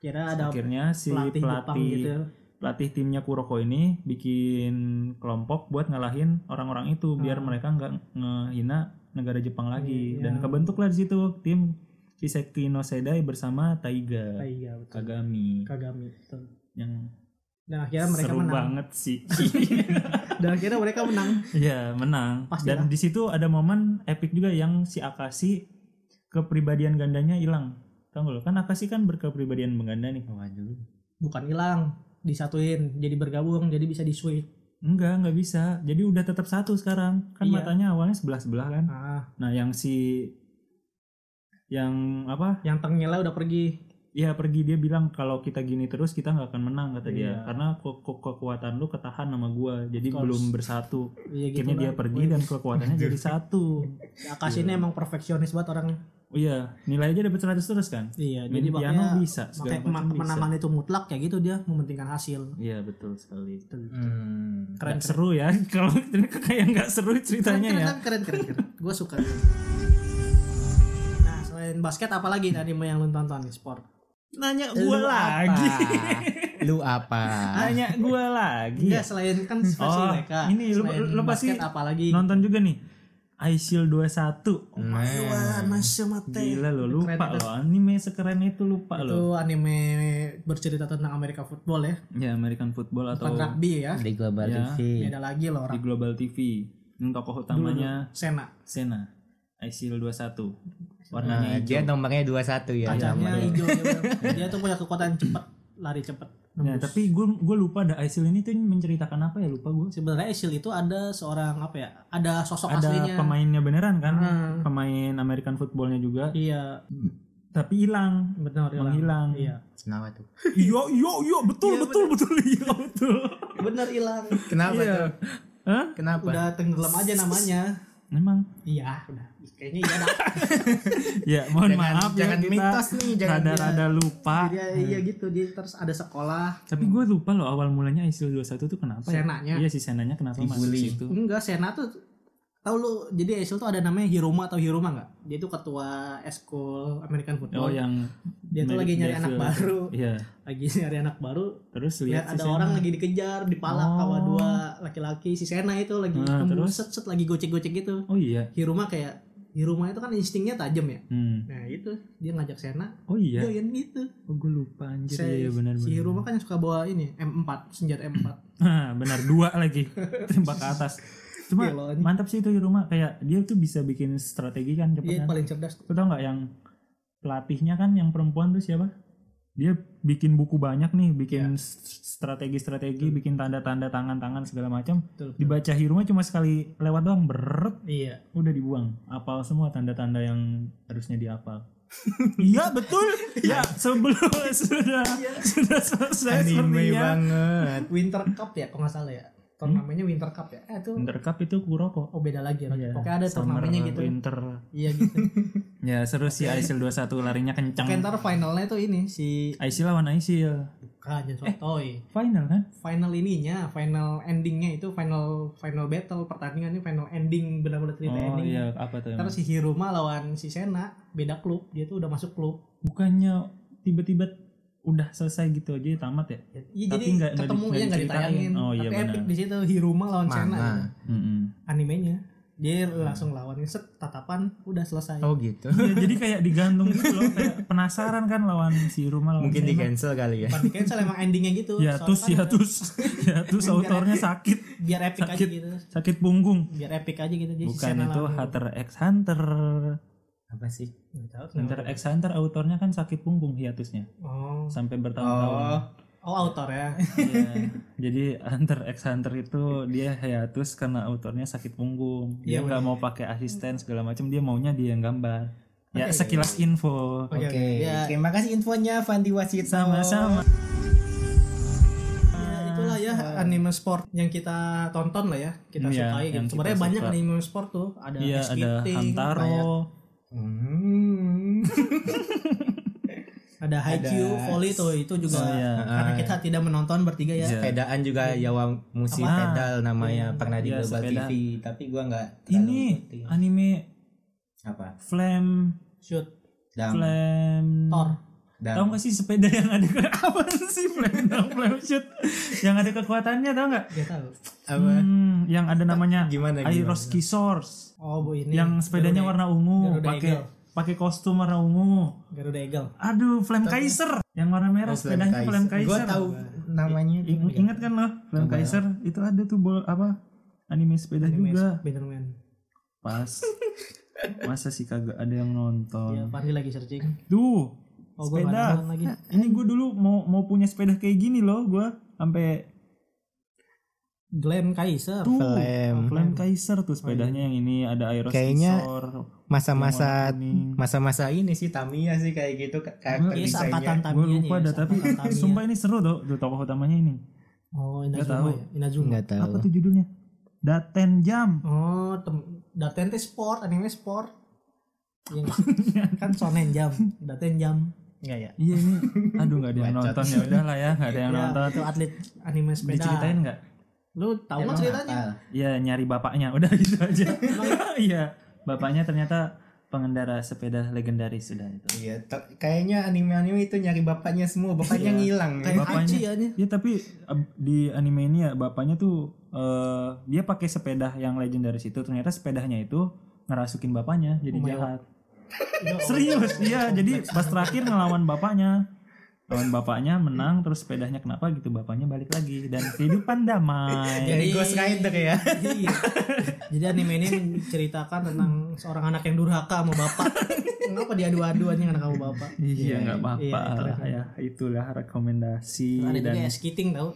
Kira ada
Akhirnya si
pelatih
pelatih
Jepang gitu.
pelatih timnya Kuroko ini bikin kelompok buat ngalahin orang-orang itu biar
Ah.
mereka nggak ngehina negara Jepang
Iya,
lagi dan kebentuklah di situ tim Kiseki no Sedai bersama Taiga
Iya, betul.
Kagami
Kagami. betul.
yang
Dan akhirnya Ya, mereka
seru
menang.
banget sih.
[LAUGHS] Dan akhirnya mereka menang.
Iya menang.
Pastilah.
Dan di situ ada momen epic juga yang si Akashi kepribadian gandanya hilang. Tahu nggak lo? Kan Akashi kan berkepribadian mengganda nih.
Oh,
Waduh.
Bukan hilang, disatuin, jadi bergabung, jadi bisa di switch.
Enggak, nggak bisa. Jadi udah tetap satu sekarang.
Iya.
Kan matanya awalnya sebelah sebelah kan.
Nah,
Nah yang si yang apa?
yang tengilnya udah pergi.
Ya pergi dia bilang kalau kita gini terus kita nggak akan menang kata dia.
Iya.
Karena ke- ke- kekuatan lu ketahan sama gua. Jadi
Of course.
belum bersatu.
Iya gitu
Akhirnya dia
lah.
pergi dan
[LAUGHS]
Iya. kekuatannya jadi satu.
Akashi ini emang perfeksionis banget orang.
Oh iya, nilai aja dapat 100 terus kan?
Iya,
Main
jadi
piano
makanya
bisa,
makanya
segala macam
kema-
bisa.
kemenangan itu mutlak ya gitu dia mementingkan hasil.
Iya betul sekali.
Hmm.
Keren seru ya [LAUGHS] kalau ternyata kayak nggak seru ceritanya
keren,
ya.
Keren keren keren. Gue suka. Nah selain basket apa lagi anime yang lu tonton nih sport?
Nanya gua lagi.
[LAUGHS] Lu apa?
[LAUGHS] Nanya gua lagi.
Iya selain kan versi
Oh,
mereka.
ini lu-
Selain
lu- lu pasti
basket apa lagi?
Nonton juga nih. Aishil 21. Oh,
Nah,
Gila lo lupa lo anime sekeren itu lupa
Itu
lo.
anime bercerita tentang Amerika football ya,
Ya American Football atau
bukan rugby ya.
di global
Ya.
TV.
Beda lagi loh
di
orang
Global TV. Yang tokoh utamanya
Sena.
Sena. Aishil 21.
Nah,
Warnanya
dia
hijau.
nomornya 21
Iya,
ya.
Kacanya hijau dia
[LAUGHS]
bilang. dia tuh punya kekuatan cepat, lari cepat.
Ya, tapi gue gue lupa ada Aisil ini tuh menceritakan apa ya lupa gue.
Sebenarnya Esil itu ada seorang apa ya? Ada sosok
ada
aslinya.
pemainnya beneran kan
Hmm.
pemain American footballnya juga
Iya,
tapi hilang
benar hilang.
Menghilang.
Iya.
Kenapa tuh?
[LAUGHS] iya iya iya betul betul betul [LAUGHS] iya betul
Benar hilang.
Kenapa
Iya.
tuh?
Hah?
Kenapa?
Udah tenggelam aja
[LAUGHS]
namanya.
memang
Iya, udah. Kayaknya iya dah.
ya mohon
Jangan-
maaf ya
jangan
kita
mitos nih, jangan
rada-rada lupa
Dia iya gitu, dia terus ada sekolah.
tapi gue lupa loh awal mulanya Aisil 21 tuh kenapa ya
hmm. Senanya.
iya si Senanya kenapa masuk
Dibully.
situ
Enggak, Sena tuh tahu lu jadi Esil tuh ada namanya Hiruma atau Hiruma enggak? Dia tuh ketua eskul American
oh
Football.
yang
Dia tuh
Merit
lagi nyari
Devil.
anak baru.
iya
Lagi nyari anak baru,
terus
lihat
lihat si
ada
Sena. Oh.
orang lagi dikejar, dipalak sama dua laki-laki. Si Sena itu lagi
Nah, terus?
ngebuset, set lagi gocek-gocek gitu.
oh iya
Hiruma kayak Hiruma itu kan instingnya tajam ya.
hmm.
Nah, itu dia ngajak Sena
oh iya
join gitu.
oh, gue lupa anjir
Si-
iya benar-benar
Si
[LAUGHS]
Hiruma kan yang suka bawa ini M4, senjata M4.
Nah, benar dua lagi [LAUGHS] tembak ke atas. Cuma
Iya, lawannya.
mantap sih itu Hiruma kayak dia tuh bisa bikin strategi kan cepet
dia
kan.
paling cerdas.
Lu tau nggak yang pelatihnya kan yang perempuan tuh siapa? Dia bikin buku banyak nih, bikin s- strategi-strategi, bikin tanda-tanda tangan-tangan segala macam.
Betul, betul.
Dibaca Hiruma cuma sekali lewat doang, beret
Iya.
udah dibuang. Apal semua tanda-tanda yang harusnya diapal. Iya betul. Ya sebelum [LAUGHS] sudah sudah selesai
Anime
sepertinya.
banget.
Kan Winter Cup ya kalau nggak salah ya
Hmm?
turnamennya Winter Cup ya eh itu
Winter Cup itu Kuroko.
oh beda lagi ya
Iya,
pokoknya ada
summer,
turnamennya gitu
Winter.
iya
[LAUGHS]
gitu
Ya seru sih Aisil 21 larinya kencang.
Oke, ntar finalnya tuh ini si
Aisil lawan Aisil.
bukan jangan
Eh.
sotoy
Final kan?
final ininya final endingnya itu final final battle pertandingannya final ending benar-benar cerita
Oh
ending
iya apa tuh?
kan? terus
emang?
si Hiruma lawan si Sena beda klub dia tuh udah masuk klub
Bukannya tiba-tiba udah selesai gitu aja tamat ya?
Iya
Tapi
jadi
nggak- nggak
ketemu ya
di- nggak
nggak
diceritain.
ditayangin
Oh, iya,
tapi
benar.
epic di situ Hiruma lawan Sena
Mana?
gitu. animenya dia langsung lawan set tatapan udah selesai
Oh gitu.
Ya, jadi kayak digantung gitu loh, kayak penasaran kan lawan si rumah lawan
Mungkin
si
di
Emma.
cancel kali ya.
Bukan di cancel emang endingnya gitu
Ya
Soalnya
tus,
kan
ya tus, ya tus autornya sakit,
biar epic aja
Sakit.
gitu
sakit punggung.
biar epic aja gitu jadi
Bukan itu Hunter x Hunter.
Apa sih?
Hunter x Hunter autornya kan sakit punggung hiatusnya
oh
sampai bertahun-tahun.
oh autor ya [LAUGHS]
Iya. Jadi Hunter x Hunter itu dia hiatus karena autornya sakit punggung. Dia
Iya,
nggak mau pakai asisten segala macam, dia maunya dia yang gambar. Ya sekilas info.
Oke,
Oh, iya, Oke.
ya.
Terima kasih infonya Fandi Wasit
Sama-sama.
Ya, itulah ya anime sport yang kita tonton lah ya kita
Hmm, iya,
sukai
yang
gitu.
kita
Sebenarnya
suka.
banyak anime sport tuh ada
Iya
ice
ada
skating,
Hantaro.
Hmm.
ada haikyuu,
Ada-
volley tuh itu juga
Oh, iya.
karena
Ah.
kita tidak menonton bertiga ya.
Iya.
sepedaan juga Yawa Musi
Apa?
pedal namanya pernah di
Iya,
Global
sepeda.
TV tapi gua nggak terlalu
Ini
ngikutin.
anime
apa
Flame
Shoot,
dam
Flame
Thor.
dam
Tahu gak sih sepeda yang ada ke [LAUGHS] apa sih flame down, flame shoot yang ada kekuatannya tahu nggak?
Dia tahu.
apa
Hmm, yang ada namanya
gimana gimana
Airoski Source
Oh, Bu ini.
yang sepedanya warna ungu
Garuda
pakai
Eagle.
pakai kostum warna ungu.
Garuda Eagle.
Aduh, Flame Kaiser yang warna
Oh,
merah sepedanya Flame Kaiser.
Gue tahu
Iya.
namanya.
Ing- Ingat kan lo, Flame
Coba.
Kaiser itu ada tuh bol apa anime sepeda
Anime
juga.
Spider-Man.
Pas.
[LAUGHS]
Masa sih kagak ada yang
Ya,
nonton?
Fandi lagi searching.
Duh,
Oh, gue nggak
sepeda.
nonton lagi.
Ini gue dulu mau mau punya sepeda kayak gini loh, gue sampai
Glam Kaiser.
tuh
Flame.
Flame Kaiser
Oh,
tuh
iya.
sepedanya yang ini ada Aeros
Kayaknya
Scissor,
Masa-masa
warna kuning.
masa-masa ini sih Tamiya sih kayak gitu ka- karakter
Iya,
desainnya.
seangkatan Tamiya.
gue lupa
ya,
dah tapi
seangkatan
[LAUGHS]
Tamiya.
sumpah ini seru tuh, tuh tokoh utamanya ini.
Oh,
tahu.
Inazuma ya. Inazuma.
Nggak tahu.
Apa tuh judulnya? Daten Jam.
Oh, tem Daten teh sport, anime sport. Yang
[LAUGHS]
kan sonen jam, Daten jam.
Nggak ya.
Iya ini, aduh nggak ada yang
Bacot.
nonton ya udahlah ya nggak ada yang
Ya,
nonton.
itu atlet anime sepeda.
Diceritain nggak?
Lu tahu nggak
Emang
ceritanya?
hafal.
Iya nyari bapaknya, udah gitu aja. Iya, bapaknya ternyata pengendara sepeda legendaris sudah itu.
Iya, to- kayaknya anime-anime itu nyari bapaknya semua, bapaknya ngilang.
Iya. Kayak
Bapaknya.
Aci
[LAUGHS]
ya nih.
Iya tapi eh, di anime ini ya bapaknya tuh eh, dia pakai sepeda yang legendaris itu ternyata sepedanya itu ngerasukin bapaknya jadi
Oh my
jahat.
oh,
Serius, iya jadi pas terakhir ngelawan bapaknya. Lawan bapaknya menang terus sepedanya kenapa gitu bapaknya balik lagi dan kehidupan damai.
Jadi
Jadi-
Ghost Rider ya.
Iya. Jadi anime ini menceritakan tentang seorang anak yang durhaka sama
[LAUGHS]
bapak. Kenapa diadu-adu anjing anak sama bapak?
Iya nggak apa-apa
iya, itu
lah ya itulah rekomendasi
Ada juga
Iya, dan
ice skating tau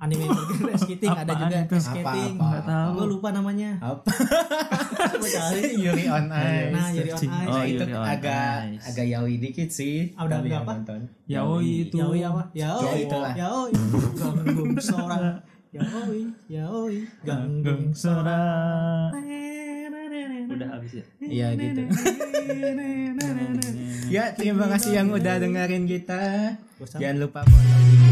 Anime yang bergerak ice skating ada
Apaan
juga
itu?
ice skating.
Apa, apa,
Nggak tahu. Gua lupa namanya.
Apa? [LAUGHS]
Coba
[LAUGHS]
cari.
Yuri on Ice.
Nah, jadi on
searching.
ice.
Oh,
Nah, itu
Yuri on
agak
Ice.
agak yaoi dikit sih.
Ah, udah
tapi yang
berapa?
nonton.
yaoi itu
Yaoi apa? Yaoi.
itulah.
Yaoi. Ganggung seorang. Yaoi. Yaoi. Ganggung
Ganggung
seorang.
Sora. udah habis ya
Iya
[LAUGHS]
gitu. ya, terima kasih yang udah dengerin kita. Jangan lupa follow